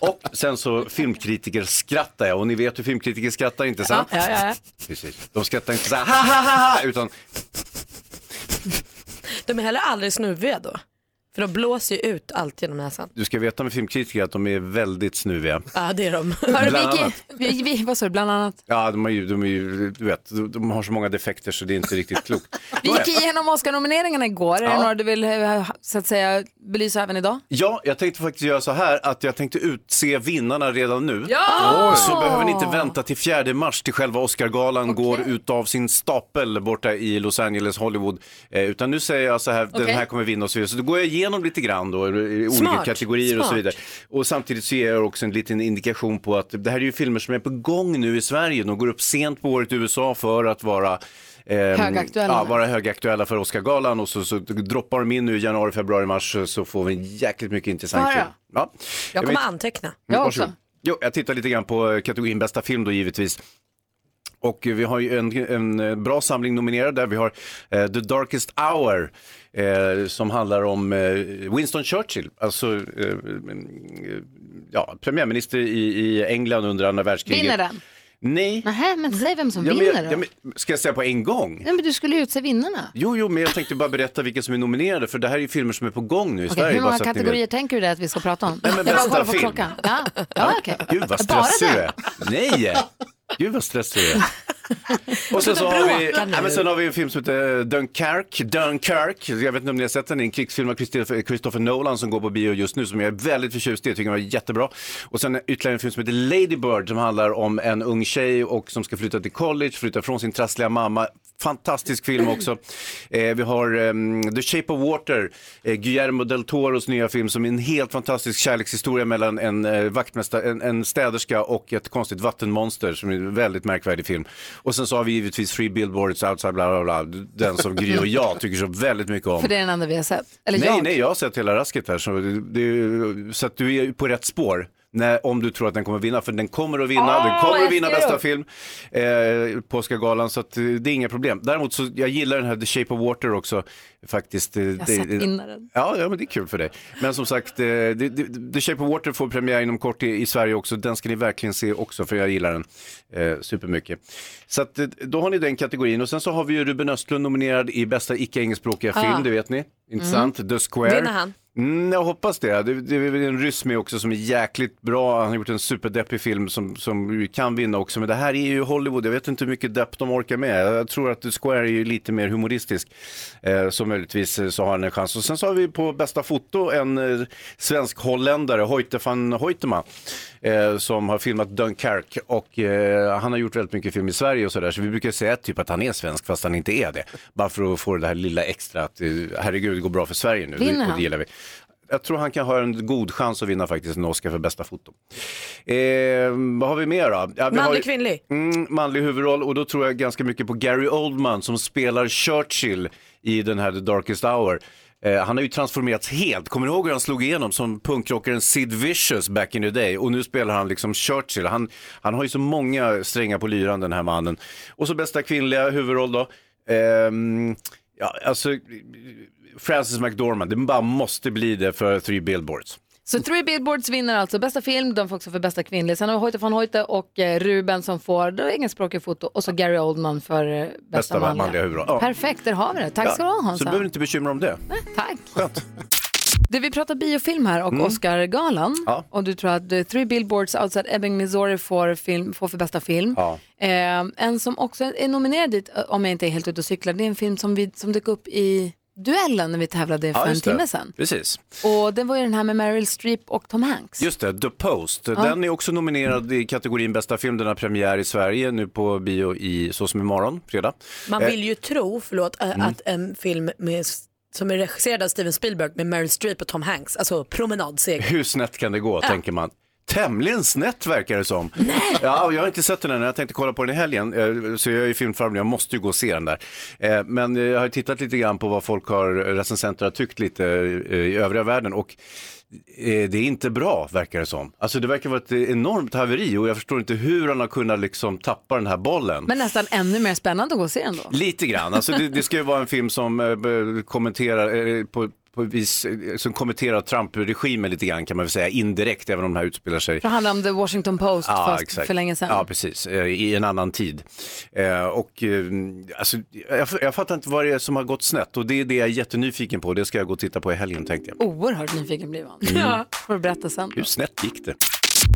Speaker 6: Och sen så filmkritiker skrattar jag. Och ni vet hur filmkritiker skrattar, inte sant?
Speaker 5: Ja, ja, ja.
Speaker 6: Precis. De skrattar inte så här, ha, ha, ha, ha, utan
Speaker 5: De är heller aldrig snuviga då. För de blåser ju ut allt genom näsan.
Speaker 6: du ska veta med filmkritiker att de är väldigt snuviga.
Speaker 5: Ja, det är de.
Speaker 6: Hörru, Bland Vicky, annat.
Speaker 4: vi, vad sa du, bland annat?
Speaker 6: Ja, de, har ju, de, är ju, du vet, de- de har så många defekter så det är inte riktigt klokt.
Speaker 4: Vi gick igenom Oscar-nomineringarna igår. Är det
Speaker 6: Ja.
Speaker 4: några du vill eh, så att säga, belysa även idag?
Speaker 6: Ja, jag tänkte faktiskt göra så här att jag tänkte utse vinnarna redan nu.
Speaker 4: Ja!
Speaker 6: Oj. Så behöver ni inte vänta till 4 mars till själva Oscargalan går ut av sin stapel borta i Los Angeles, Hollywood. Eh, utan nu säger jag så här,
Speaker 4: Okej.
Speaker 6: den här kommer vinna och så vidare. Så då går jag igenom lite grann då, i olika
Speaker 10: Smart,
Speaker 6: kategorier och så
Speaker 10: smart.
Speaker 6: vidare. Och samtidigt så ger jag också en liten indikation på att det här är ju filmer som är på gång nu i Sverige. De går upp sent på året i USA för att vara ehm,
Speaker 4: Högaktuella.
Speaker 6: Ja, vara högaktuella för Oscargalan och så, så droppar de in nu i januari, februari, mars så får vi jäkligt mycket intressant
Speaker 5: Fara.
Speaker 6: film. Ja.
Speaker 5: Jag kommer
Speaker 6: vet-
Speaker 5: anteckna.
Speaker 6: Mm, varsågod. Jo, jag tittar lite grann på eh, kategorin bästa film då givetvis. Och eh, vi har ju en, en eh, bra samling nominerade där. Vi har eh, The Darkest Hour eh, som handlar om eh, Winston Churchill, alltså eh, eh, ja, premiärminister i, i England under andra världskriget.
Speaker 4: Vinner den?
Speaker 6: Nej.
Speaker 4: Nähä, men säg vem som
Speaker 6: Ja, men,
Speaker 4: vinner
Speaker 6: jag- ja,
Speaker 4: då.
Speaker 6: men, ska jag säga på en gång?
Speaker 4: Nej, men du skulle ju utse vinnarna.
Speaker 6: Jo, jo, men jag tänkte bara berätta vilka som är nominerade för det här är ju filmer som är på gång nu i
Speaker 4: Okej,
Speaker 6: Sverige.
Speaker 4: hur
Speaker 6: bara
Speaker 4: många
Speaker 6: så att ni vet.
Speaker 4: kategorier tänker du dig att vi ska prata om?
Speaker 6: Nej,
Speaker 4: jag
Speaker 6: men
Speaker 4: bara
Speaker 6: bästa
Speaker 4: kollar på
Speaker 6: film.
Speaker 4: klockan. Ja, ja okej.
Speaker 6: Gud vad
Speaker 4: Bara
Speaker 6: stressig du
Speaker 4: det?
Speaker 6: är. Nej, gud vad stressig du är. Och sen, så
Speaker 4: Sluta
Speaker 6: har vi,
Speaker 4: bråka nu.
Speaker 6: ja, men sen har vi en film som heter eh, Dunkirk. Dunkirk. Jag vet inte om ni har sett den. Det är en krigsfilm av Christopher, Christopher Nolan som går på bio just nu som jag är väldigt förtjust i. Jag tycker den var jättebra. Och sen ytterligare en film som heter Lady Bird som handlar om en ung tjej och som ska flytta till college, flytta från sin trassliga mamma. Fantastisk film också. Eh, vi har ehm, The Shape of Water, eh, Guillermo del Toros nya film som är en helt fantastisk kärlekshistoria mellan en, eh, vaktmästa- en, en städerska och ett konstigt vattenmonster som är en väldigt märkvärdig film. Och sen så har vi givetvis Free Billboards Outside bla bla bla, den som Gry och jag tycker så väldigt mycket om.
Speaker 4: För det är den enda vi har sett. Eller
Speaker 6: nej,
Speaker 4: jag.
Speaker 6: nej, jag har sett hela rasket här så, det, det, är ju- så att du är på rätt spår. När, om du tror att den kommer vinna, för den kommer att vinna,
Speaker 4: Åh,
Speaker 6: den kommer
Speaker 4: jag
Speaker 6: att vinna
Speaker 4: ser
Speaker 6: bästa
Speaker 4: upp.
Speaker 6: film eh, på Oscargalan, så att, eh, det är inga problem. Däremot så, jag gillar den här The Shape of Water också faktiskt. eh, Jag
Speaker 4: har sett vinnaren.
Speaker 6: Ja, ja, men det är kul för dig. Men som sagt, eh, det- det- The Shape of Water får premiär inom kort i, i Sverige också. Den ska ni verkligen se också, för jag gillar den eh, supermycket. Så att, eh, då har ni den kategorin. Och sen så har vi ju Ruben Östlund nominerad i bästa icke-engelskspråkiga
Speaker 5: Ah.
Speaker 6: film, det vet ni. Intressant. The Square.
Speaker 5: Vinner han?
Speaker 6: Mm, jag hoppas det. Det, det är väl en ryss med också som är jäkligt bra. Han har gjort en superdeppig film som, som ju kan vinna också. Men det här är ju Hollywood. Jag vet inte hur mycket depp de orkar med. Jag tror att The Square är ju lite mer humoristisk. Eh, så möjligtvis eh, så har han en chans. Och sen så har vi på bästa foto en eh, svensk holländare, Hoyte van Hoytema, eh, som har filmat Dunkirk. Och eh, han har gjort väldigt mycket film i Sverige och sådär. Så vi brukar säga typ att han är svensk fast han inte är det. Bara för att få det här lilla extra att eh, herregud, det går bra för Sverige nu.
Speaker 4: Vinner
Speaker 6: Och det
Speaker 4: han?
Speaker 6: gillar vi. Jag tror han kan ha en god chans att vinna faktiskt en Oscar för bästa foto. Eh, vad har vi mer då? Ja, vi har
Speaker 5: Manlig,
Speaker 6: ju-
Speaker 5: kvinnlig?
Speaker 6: Mm, manlig huvudroll och då tror jag ganska mycket på Gary Oldman som spelar Churchill i den här The Darkest Hour. Eh, han har ju transformerats helt. Kommer ni ihåg hur han slog igenom som punkrockaren Sid Vicious back in the day? Och nu spelar han liksom Churchill. Han, han har ju så många strängar på lyran den här mannen. Och så bästa kvinnliga huvudroll då. Ehm, ja, alltså, Frances McDormand, det bara måste bli det för Three Billboards.
Speaker 4: Så Three Billboards vinner alltså bästa film, de får också för bästa kvinnlig. Sen har vi Hoyte van Hoyte och eh, Ruben som får då engelskspråkig foto och så Gary Oldman för eh, bästa,
Speaker 6: Bästa
Speaker 4: manliga.
Speaker 6: manliga huvudroll. Ja.
Speaker 4: Perfekt, där har vi det. Tack ska
Speaker 6: Ja,
Speaker 4: du ha
Speaker 6: Så du
Speaker 4: Hansa.
Speaker 6: behöver inte bekymra om det.
Speaker 4: Tack.
Speaker 6: Skönt.
Speaker 4: Du, vi pratar biofilm här och
Speaker 6: Mm.
Speaker 4: Oscargalan
Speaker 6: Ja.
Speaker 4: och du tror att eh, Three Billboards Outside Ebbing, Missouri får, film, får för bästa film.
Speaker 6: Ja.
Speaker 4: Eh, en som också är nominerad dit, eh, om jag inte är helt ute och cyklar, det är en film som, vi, som dök upp i duellen när vi tävlade för en
Speaker 6: just det.
Speaker 4: timme sedan.
Speaker 6: Precis.
Speaker 4: Och den var ju den här med Meryl Streep och Tom Hanks.
Speaker 6: Just det, The Post.
Speaker 4: Ja.
Speaker 6: Den är också nominerad i kategorin bästa film. Den har premiär i Sverige nu på bio i Så som imorgon, fredag.
Speaker 5: Man
Speaker 6: Eh,
Speaker 5: vill ju tro, förlåt, ä-
Speaker 6: Mm.
Speaker 5: att en film med, som är regisserad av Steven Spielberg med Meryl Streep och Tom Hanks, alltså promenadseger.
Speaker 6: Hur snett kan det gå,
Speaker 5: Ja.
Speaker 6: tänker man. Tämligen snett verkar det som. Nej. Ja, och jag har inte sett den än, jag tänkte kolla på den i helgen, eh, så jag är filmfarbror, jag måste ju gå och se den där. Eh, Men eh, jag har tittat lite grann på vad folk har, recensenter har tyckt lite eh, i övriga världen och eh, det är inte bra verkar det som. Alltså det verkar vara ett enormt haveri och jag förstår inte hur han har kunnat liksom tappa den här bollen.
Speaker 4: Men nästan ännu mer spännande att gå och se ändå.
Speaker 6: Lite grann. Alltså, det, det ska ju vara en film som eh, be- kommenterar eh, på på vis, eh, som kommenterar Trump-regimen lite grann kan man väl säga indirekt även om den här utspelar sig.
Speaker 4: Det handlar om The Washington Post fast för länge sedan.
Speaker 6: Ja, precis. Eh, I en annan tid. Eh, Och eh, alltså, jag, jag fattar inte vad det är som har gått snett och det är det jag är jättenyfiken på. Det ska jag gå och titta på i helgen tänkte jag.
Speaker 4: Oerhört nyfiken blir man.
Speaker 6: Mm.
Speaker 4: Ja. Får du berätta sen.
Speaker 6: Hur snett gick det?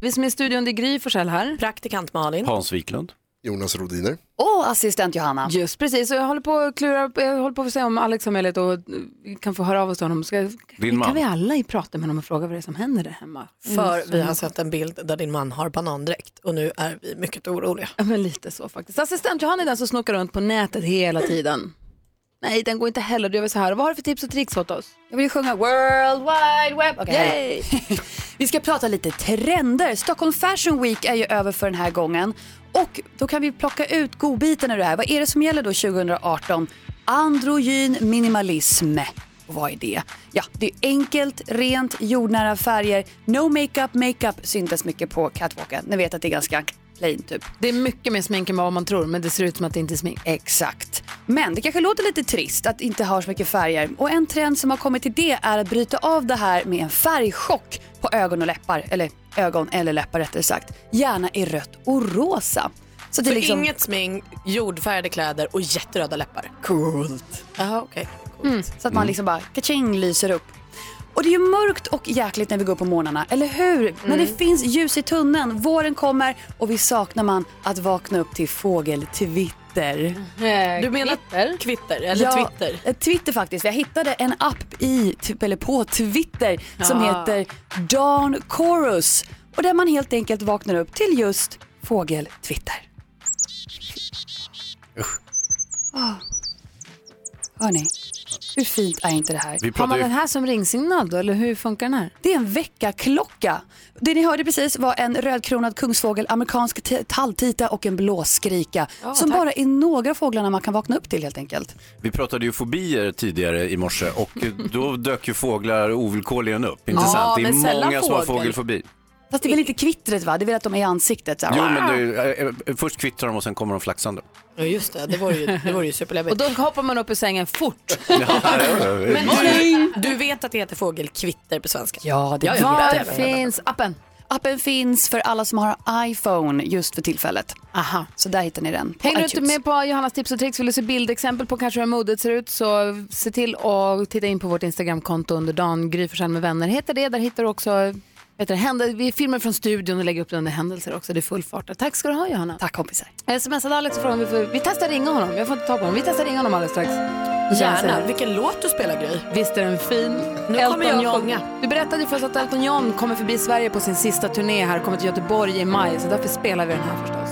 Speaker 4: Vi som är i studion, det är Gry Forssell här.
Speaker 5: Praktikant Malin.
Speaker 6: Hans Wiklund.
Speaker 9: Jonas Rodiner.
Speaker 4: Och assistent Johanna. Just precis, och jag håller på att klura, jag håller på att se om Alex har möjlighet och eh, vi kan få höra av oss till honom. Ska,
Speaker 6: Din
Speaker 4: kan
Speaker 6: man.
Speaker 4: vi alla i prata med honom och fråga vad det är som händer där hemma?
Speaker 5: Mm,
Speaker 4: Mm,
Speaker 5: För vi har sett en bild där din man har banandräkt och nu är vi mycket oroliga.
Speaker 4: Ja, men lite så faktiskt. Assistent Johanna är den som snokar runt på nätet hela tiden. Nej, den går inte heller. Du gör vi så här. Vad har du för tips och tricks åt oss?
Speaker 10: Jag vill ju sjunga World Wide Web. Okej, här
Speaker 4: Yay!
Speaker 10: då. Vi ska prata lite trender. Stockholm Fashion Week är ju över för den här gången. Och då kan vi plocka ut godbitarna ur det här. Vad är det som gäller då 2018? Androgyn minimalism. Och vad är det? Ja, det är enkelt, rent, jordnära färger. No makeup, makeup syntes mycket på catwalken. Ni vet att det är ganska plain typ.
Speaker 4: Det är mycket mer smink än vad man tror, men det ser ut som att det inte är smink.
Speaker 10: Exakt. Men det kanske låter lite trist att inte ha så mycket färger. Och en trend som har kommit till det är att bryta av det här med en färgchock på ögon och läppar. Eller ögon eller läppar rättare sagt. Gärna i rött och rosa.
Speaker 5: Så,
Speaker 10: det är liksom-
Speaker 5: inget smink, jordfärgade kläder och jätteröda läppar.
Speaker 10: Coolt.
Speaker 5: Jaha, okej.
Speaker 10: Mm, så att man liksom bara kaching lyser upp. Och det är ju mörkt och jäkligt när vi går upp på morgnarna, eller hur? Men det finns ljus i tunneln, våren kommer och vi saknar man att vakna upp till fågeltwitter.
Speaker 4: Eh,
Speaker 5: Du menar kvitter? kvitter eller Twitter?
Speaker 10: eh, Twitter faktiskt. Jag hittade en app i, typ, eller på Twitter som
Speaker 5: Ja.
Speaker 10: heter Dawn Chorus. Och där man helt enkelt vaknar upp till just fågeltwitter. Oh. Hörni, hur fint är inte det här?
Speaker 4: Har man den här som ringsignal då, eller hur funkar den här?
Speaker 10: Det är en väckarklocka. Det ni hörde precis var en rödkronad kungsfågel, amerikansk t- talltita och en blåskrika.
Speaker 4: Ja,
Speaker 10: som
Speaker 4: tack.
Speaker 10: bara är några av fåglarna man kan vakna upp till helt enkelt.
Speaker 6: Vi pratade ju fobier tidigare i morse och då dök ju fåglar ovillkorligen upp. Inte
Speaker 10: Ja,
Speaker 6: sant? Det är
Speaker 10: men sällan
Speaker 6: många som har
Speaker 10: fågel.
Speaker 6: fågelfobi.
Speaker 10: Fast det är väl inte kvittret va? Det är väl att de är i ansiktet? Så här.
Speaker 6: Jo, men det, eh, eh, först kvittrar de och sen kommer de flaxande.
Speaker 5: Ja just det, det vore ju, det vore ju superläbbigt.
Speaker 4: Och då hoppar man upp ur
Speaker 5: <laughs>
Speaker 4: sängen fort.
Speaker 5: Men du, du vet att det heter fågelkvitter på svenska?
Speaker 10: Ja, det
Speaker 5: ja,
Speaker 10: Var
Speaker 5: vet jag.
Speaker 10: finns appen? Appen finns för alla som har iPhone just för tillfället.
Speaker 4: Aha.
Speaker 10: Så där hittar ni den. på
Speaker 4: Hänger du
Speaker 10: iTunes.
Speaker 4: inte med på Johannas tips och tricks, vill du se bildexempel på kanske hur modet ser ut så se till att titta in på vårt Instagramkonto under dagen. Gry Forssell med vänner heter det. Där hittar du också vet du, händel- vi filmer från studion och lägger upp det under händelser också. Det är full fart. där. Tack ska du ha Johanna.
Speaker 10: Tack kompisar.
Speaker 4: Jag smsade Alex och frågade om vi får, vi testar ringa honom. Jag får inte tag på honom. Vi testar ringa honom alldeles strax.
Speaker 5: Gärna. Vilken låt du spelar Gry.
Speaker 4: Visst är den fin?
Speaker 5: Nu kommer jag att sjunga.
Speaker 4: Du berättade för oss att Elton John kommer förbi Sverige på sin sista turné här, kommer till Göteborg i maj, så därför spelar vi den här förstås.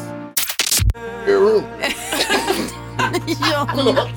Speaker 4: <laughs> Jonas,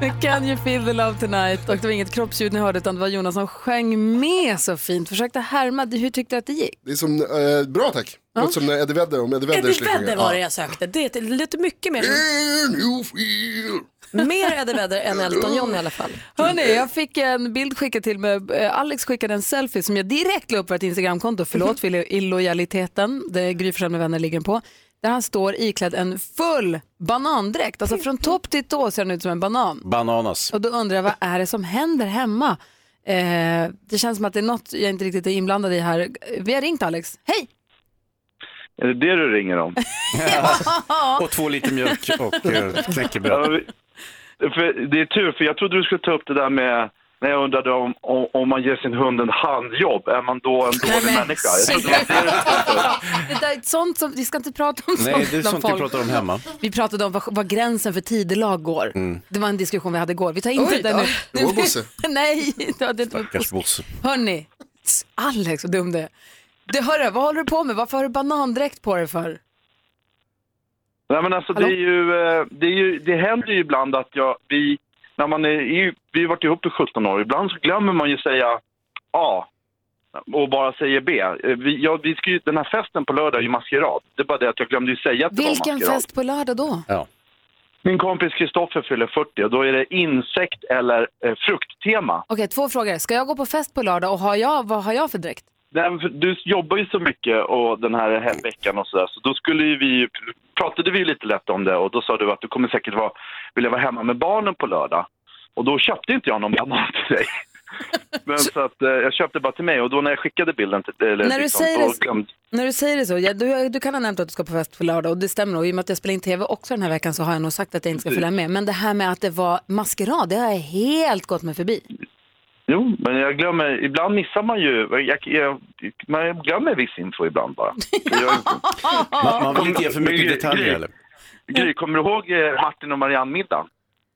Speaker 4: med Can you feel the love tonight? Och det var inget kroppsljud ni hörde utan det var Jonas som sjöng med så fint. Försökte härma, hur tyckte du att det gick?
Speaker 9: Det är som, eh, bra tack.
Speaker 4: Ja.
Speaker 9: Låter som när Eddie Vedder om Eddie Vedder
Speaker 5: Eddie
Speaker 9: skulle sjunga.
Speaker 5: Vedder var det
Speaker 9: Ja.
Speaker 5: jag sökte. Det lät mycket mer...
Speaker 2: Mm.
Speaker 9: Can you feel?
Speaker 5: Mer Eddie Vedder än Elton John i alla fall.
Speaker 4: Hörni, jag fick en bild skickad till mig. Eh, Alex skickade en selfie som jag direkt la upp på ett Instagramkonto. Förlåt för illojaliteten. Det är Gry Forssell med vänner ligger på. Där han står iklädd en full banandräkt. Alltså från topp till tå ser han ut som en banan.
Speaker 6: Bananas.
Speaker 4: Och då undrar jag, vad är det som händer hemma? Eh, det känns som att det är något jag inte riktigt är inblandad i här. Vi har ringt Alex. Hej!
Speaker 12: Är det det du ringer
Speaker 14: <laughs>
Speaker 12: om?
Speaker 6: Och två liter mjölk och eh, knäckebröd.
Speaker 12: Ja, vi- för det är tur, för jag trodde du skulle ta upp det där med när jag undrade om, om, om man ger sin hund en handjobb, är man då en dålig människa? Jag trodde det var det du skulle ta upp.
Speaker 4: <laughs> Det där är sånt som, vi ska inte prata om
Speaker 12: Nej,
Speaker 4: sånt
Speaker 12: det är
Speaker 4: bland
Speaker 12: sånt vi
Speaker 4: folk.
Speaker 12: pratar om
Speaker 6: hemma.
Speaker 4: Vi pratade om var, var gränsen för tidelag går.
Speaker 6: Mm.
Speaker 4: Det var en diskussion vi hade igår. Vi tar inte
Speaker 6: Oj
Speaker 4: den
Speaker 6: då.
Speaker 4: nu.
Speaker 6: Det var Bosse.
Speaker 4: <laughs> Nej, det hade inte
Speaker 6: Stackars Bosse.
Speaker 4: Hörni, Alex vad dum det är. Du, hörru, vad håller du på med? Varför har du banandräkt på dig för?
Speaker 12: Nej, men alltså, det, är ju, eh, det, är ju, det händer ju ibland att jag, vi, när man är, i- vi har varit ihop i 17 år, ibland så glömmer man ju säga A och bara säger B. Eh, Vi, ja, vi ska ju, den här festen på lördag är ju maskerad. Det är bara det att jag glömde ju säga att det var
Speaker 4: Vilken
Speaker 12: maskerad.
Speaker 4: fest på lördag då?
Speaker 12: Min kompis Kristoffer fyller 40 och då är det insekt eller eh, frukttema.
Speaker 4: Okej, två frågor. Ska jag gå på fest på lördag och har jag, vad har jag för dräkt?
Speaker 12: Nej, för Du jobbar ju så mycket och den här he- veckan och sådär så då skulle ju vi, pratade vi ju lite lätt om det och då sa du att du kommer säkert vara, vilja vara hemma med barnen på lördag. Och då köpte inte jag någon banan <laughs> till dig. Men så att eh, jag köpte bara till mig och då när jag skickade bilden till eller
Speaker 4: När du säger det
Speaker 12: och
Speaker 4: så-
Speaker 12: glömde-
Speaker 4: När du säger det så, ja, du, du kan ha nämnt att du ska på fest på lördag och det stämmer nog. I och med att jag spelar in tv också den här veckan så har jag nog sagt att jag inte ska
Speaker 12: Precis.
Speaker 4: följa med. Men det här med att det var maskerad, det har jag helt gått mig förbi.
Speaker 12: Jo, men jag glömmer, ibland missar man ju, jag, jag, man glömmer viss info ibland
Speaker 4: <laughs>
Speaker 12: bara. Det gör inte.
Speaker 6: Man, man vill inte ge för mycket
Speaker 12: Gry-
Speaker 6: detaljer
Speaker 12: Gry-
Speaker 6: eller?
Speaker 12: Gry, kommer du ihåg eh, Martin och Marianne-middagen?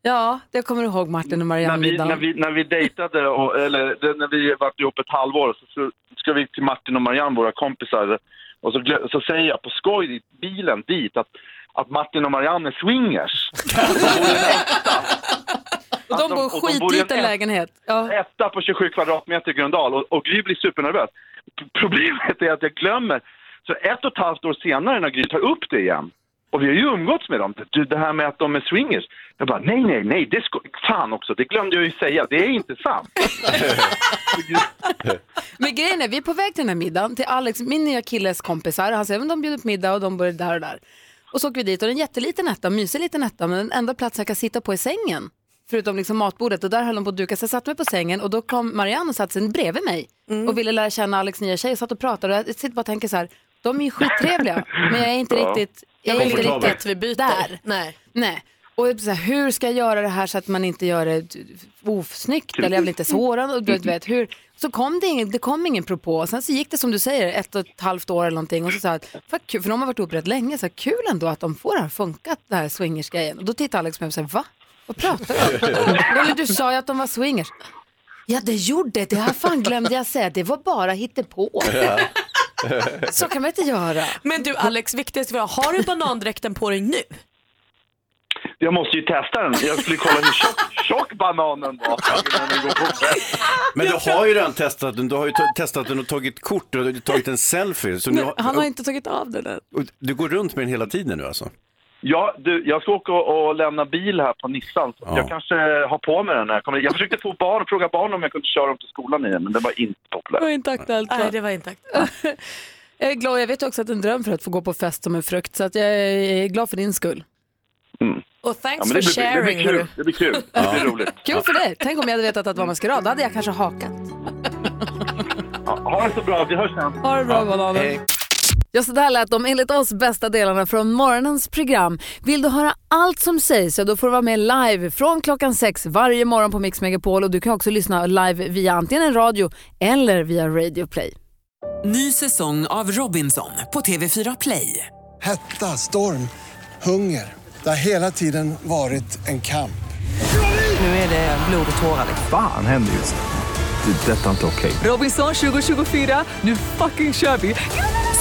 Speaker 4: Ja, det kommer du ihåg Martin och
Speaker 12: När vi, när
Speaker 4: Marianne-middagen.
Speaker 12: vi, när vi dejtade, och, eller det- när vi varit ihop ett halvår, så, så ska vi till Martin och Marianne, våra kompisar, och så, glö- så säger jag på skoj i bilen dit att, att Martin och Marianne är swingers. Och hon är den enda.
Speaker 4: Och de bor i
Speaker 12: och de bor i en
Speaker 4: skitliten
Speaker 12: ett-
Speaker 4: lägenhet. Ja.
Speaker 12: etta på 27 kvadratmeter i Gröndal och, och Gry blir supernervös. Problemet är att jag glömmer. Så ett och ett halvt år senare när Gry tar upp det igen, och vi har ju umgåtts med dem, du, det här med att de är swingers. Jag bara, nej, nej, nej, det ska, fan också, det glömde jag ju säga, det är inte sant.
Speaker 4: Men grejen är, vi är på väg till den här middagen till Alex, min nya killes kompisar. Han säger att de bjuder på middag och de bor där och där. Och så åker vi dit och det är en jätteliten etta, en mysig liten etta, men den enda plats jag kan sitta på är sängen. Förutom liksom matbordet och där höll de på att duka. Så jag satte mig på sängen och då kom Marianne och satte sig bredvid mig och ville lära känna Alex nya tjej. Jag satt och pratade och jag sitter bara och tänker så här, de är ju skittrevliga, men jag är inte
Speaker 24: Ja.
Speaker 4: riktigt, jag är inte
Speaker 24: Komfortabel.
Speaker 4: riktigt vi byter. där. Nej. Nej. Och jag blir så här, hur ska jag göra det här så att man inte gör det osnyggt eller jag vill inte såra någon, och du vet, vet hur. Så kom det ingen, det kom ingen propå. Sen så gick det som du säger, ett och ett halvt år eller någonting och så sa jag, att, "Fan, kul", för de har varit ihop rätt länge, så här, kul ändå att de får det här funkat, det här swingersgrejen. Och då tittar Alex på mig och säger, va? Vad pratar du om? Eller du sa ju att de var swingers. Ja det gjorde det, här fan glömde jag säga, det var bara hittepå. <laughs> Så kan man inte göra.
Speaker 25: Men du Alex, viktigast var, har du banandräkten på dig nu?
Speaker 12: Jag måste ju testa den, jag skulle kolla hur tjock, tjock bananen var. innan den går på.
Speaker 6: Men du har ju redan testat den, du har ju t- testat den och tagit kort och tagit en selfie. Så nu
Speaker 25: Men
Speaker 6: har,
Speaker 25: han har inte tagit av den än.
Speaker 6: och Du går runt med den hela tiden nu alltså?
Speaker 12: Ja, du, jag ska åka och, och lämna bil här på Nissan. Så Jag kanske har på mig den när jag kommer Jag försökte få barn, fråga barn om jag kunde köra dem till skolan i den, men det var inte populärt.
Speaker 4: Det var inte aktuellt.
Speaker 25: Nej, det var inte
Speaker 4: <laughs> jag är glad, jag vet ju också att det är en dröm för att få gå på fest som en frukt, så att jag är glad för din skull.
Speaker 12: Mm.
Speaker 25: Och
Speaker 12: Ja,
Speaker 25: thanks
Speaker 12: men
Speaker 25: for
Speaker 12: det, blir, det
Speaker 25: sharing.
Speaker 12: blir kul, det blir kul, det blir roligt.
Speaker 4: Kul för dig. Tänk om jag hade vetat att det var maskerad, då hade jag kanske hakat.
Speaker 12: Ja, ha det så bra, vi hörs sen.
Speaker 4: Ha det bra, bananen. Ja, så där lät de enligt oss bästa delarna från morgonens program. Vill du höra allt som sägs så då får du vara med live från klockan sex varje morgon på Mix Megapol och du kan också lyssna live via antingen en radio eller via Radio Play.
Speaker 26: Ny säsong av Robinson på TV4 Play.
Speaker 27: Hetta, storm, hunger. Det har hela tiden varit en kamp.
Speaker 26: Nu är det blod och tårar. liksom.
Speaker 28: Fan händer just nu. Det. är Detta är inte okej.
Speaker 26: Robinson 2024, nu fucking kör vi!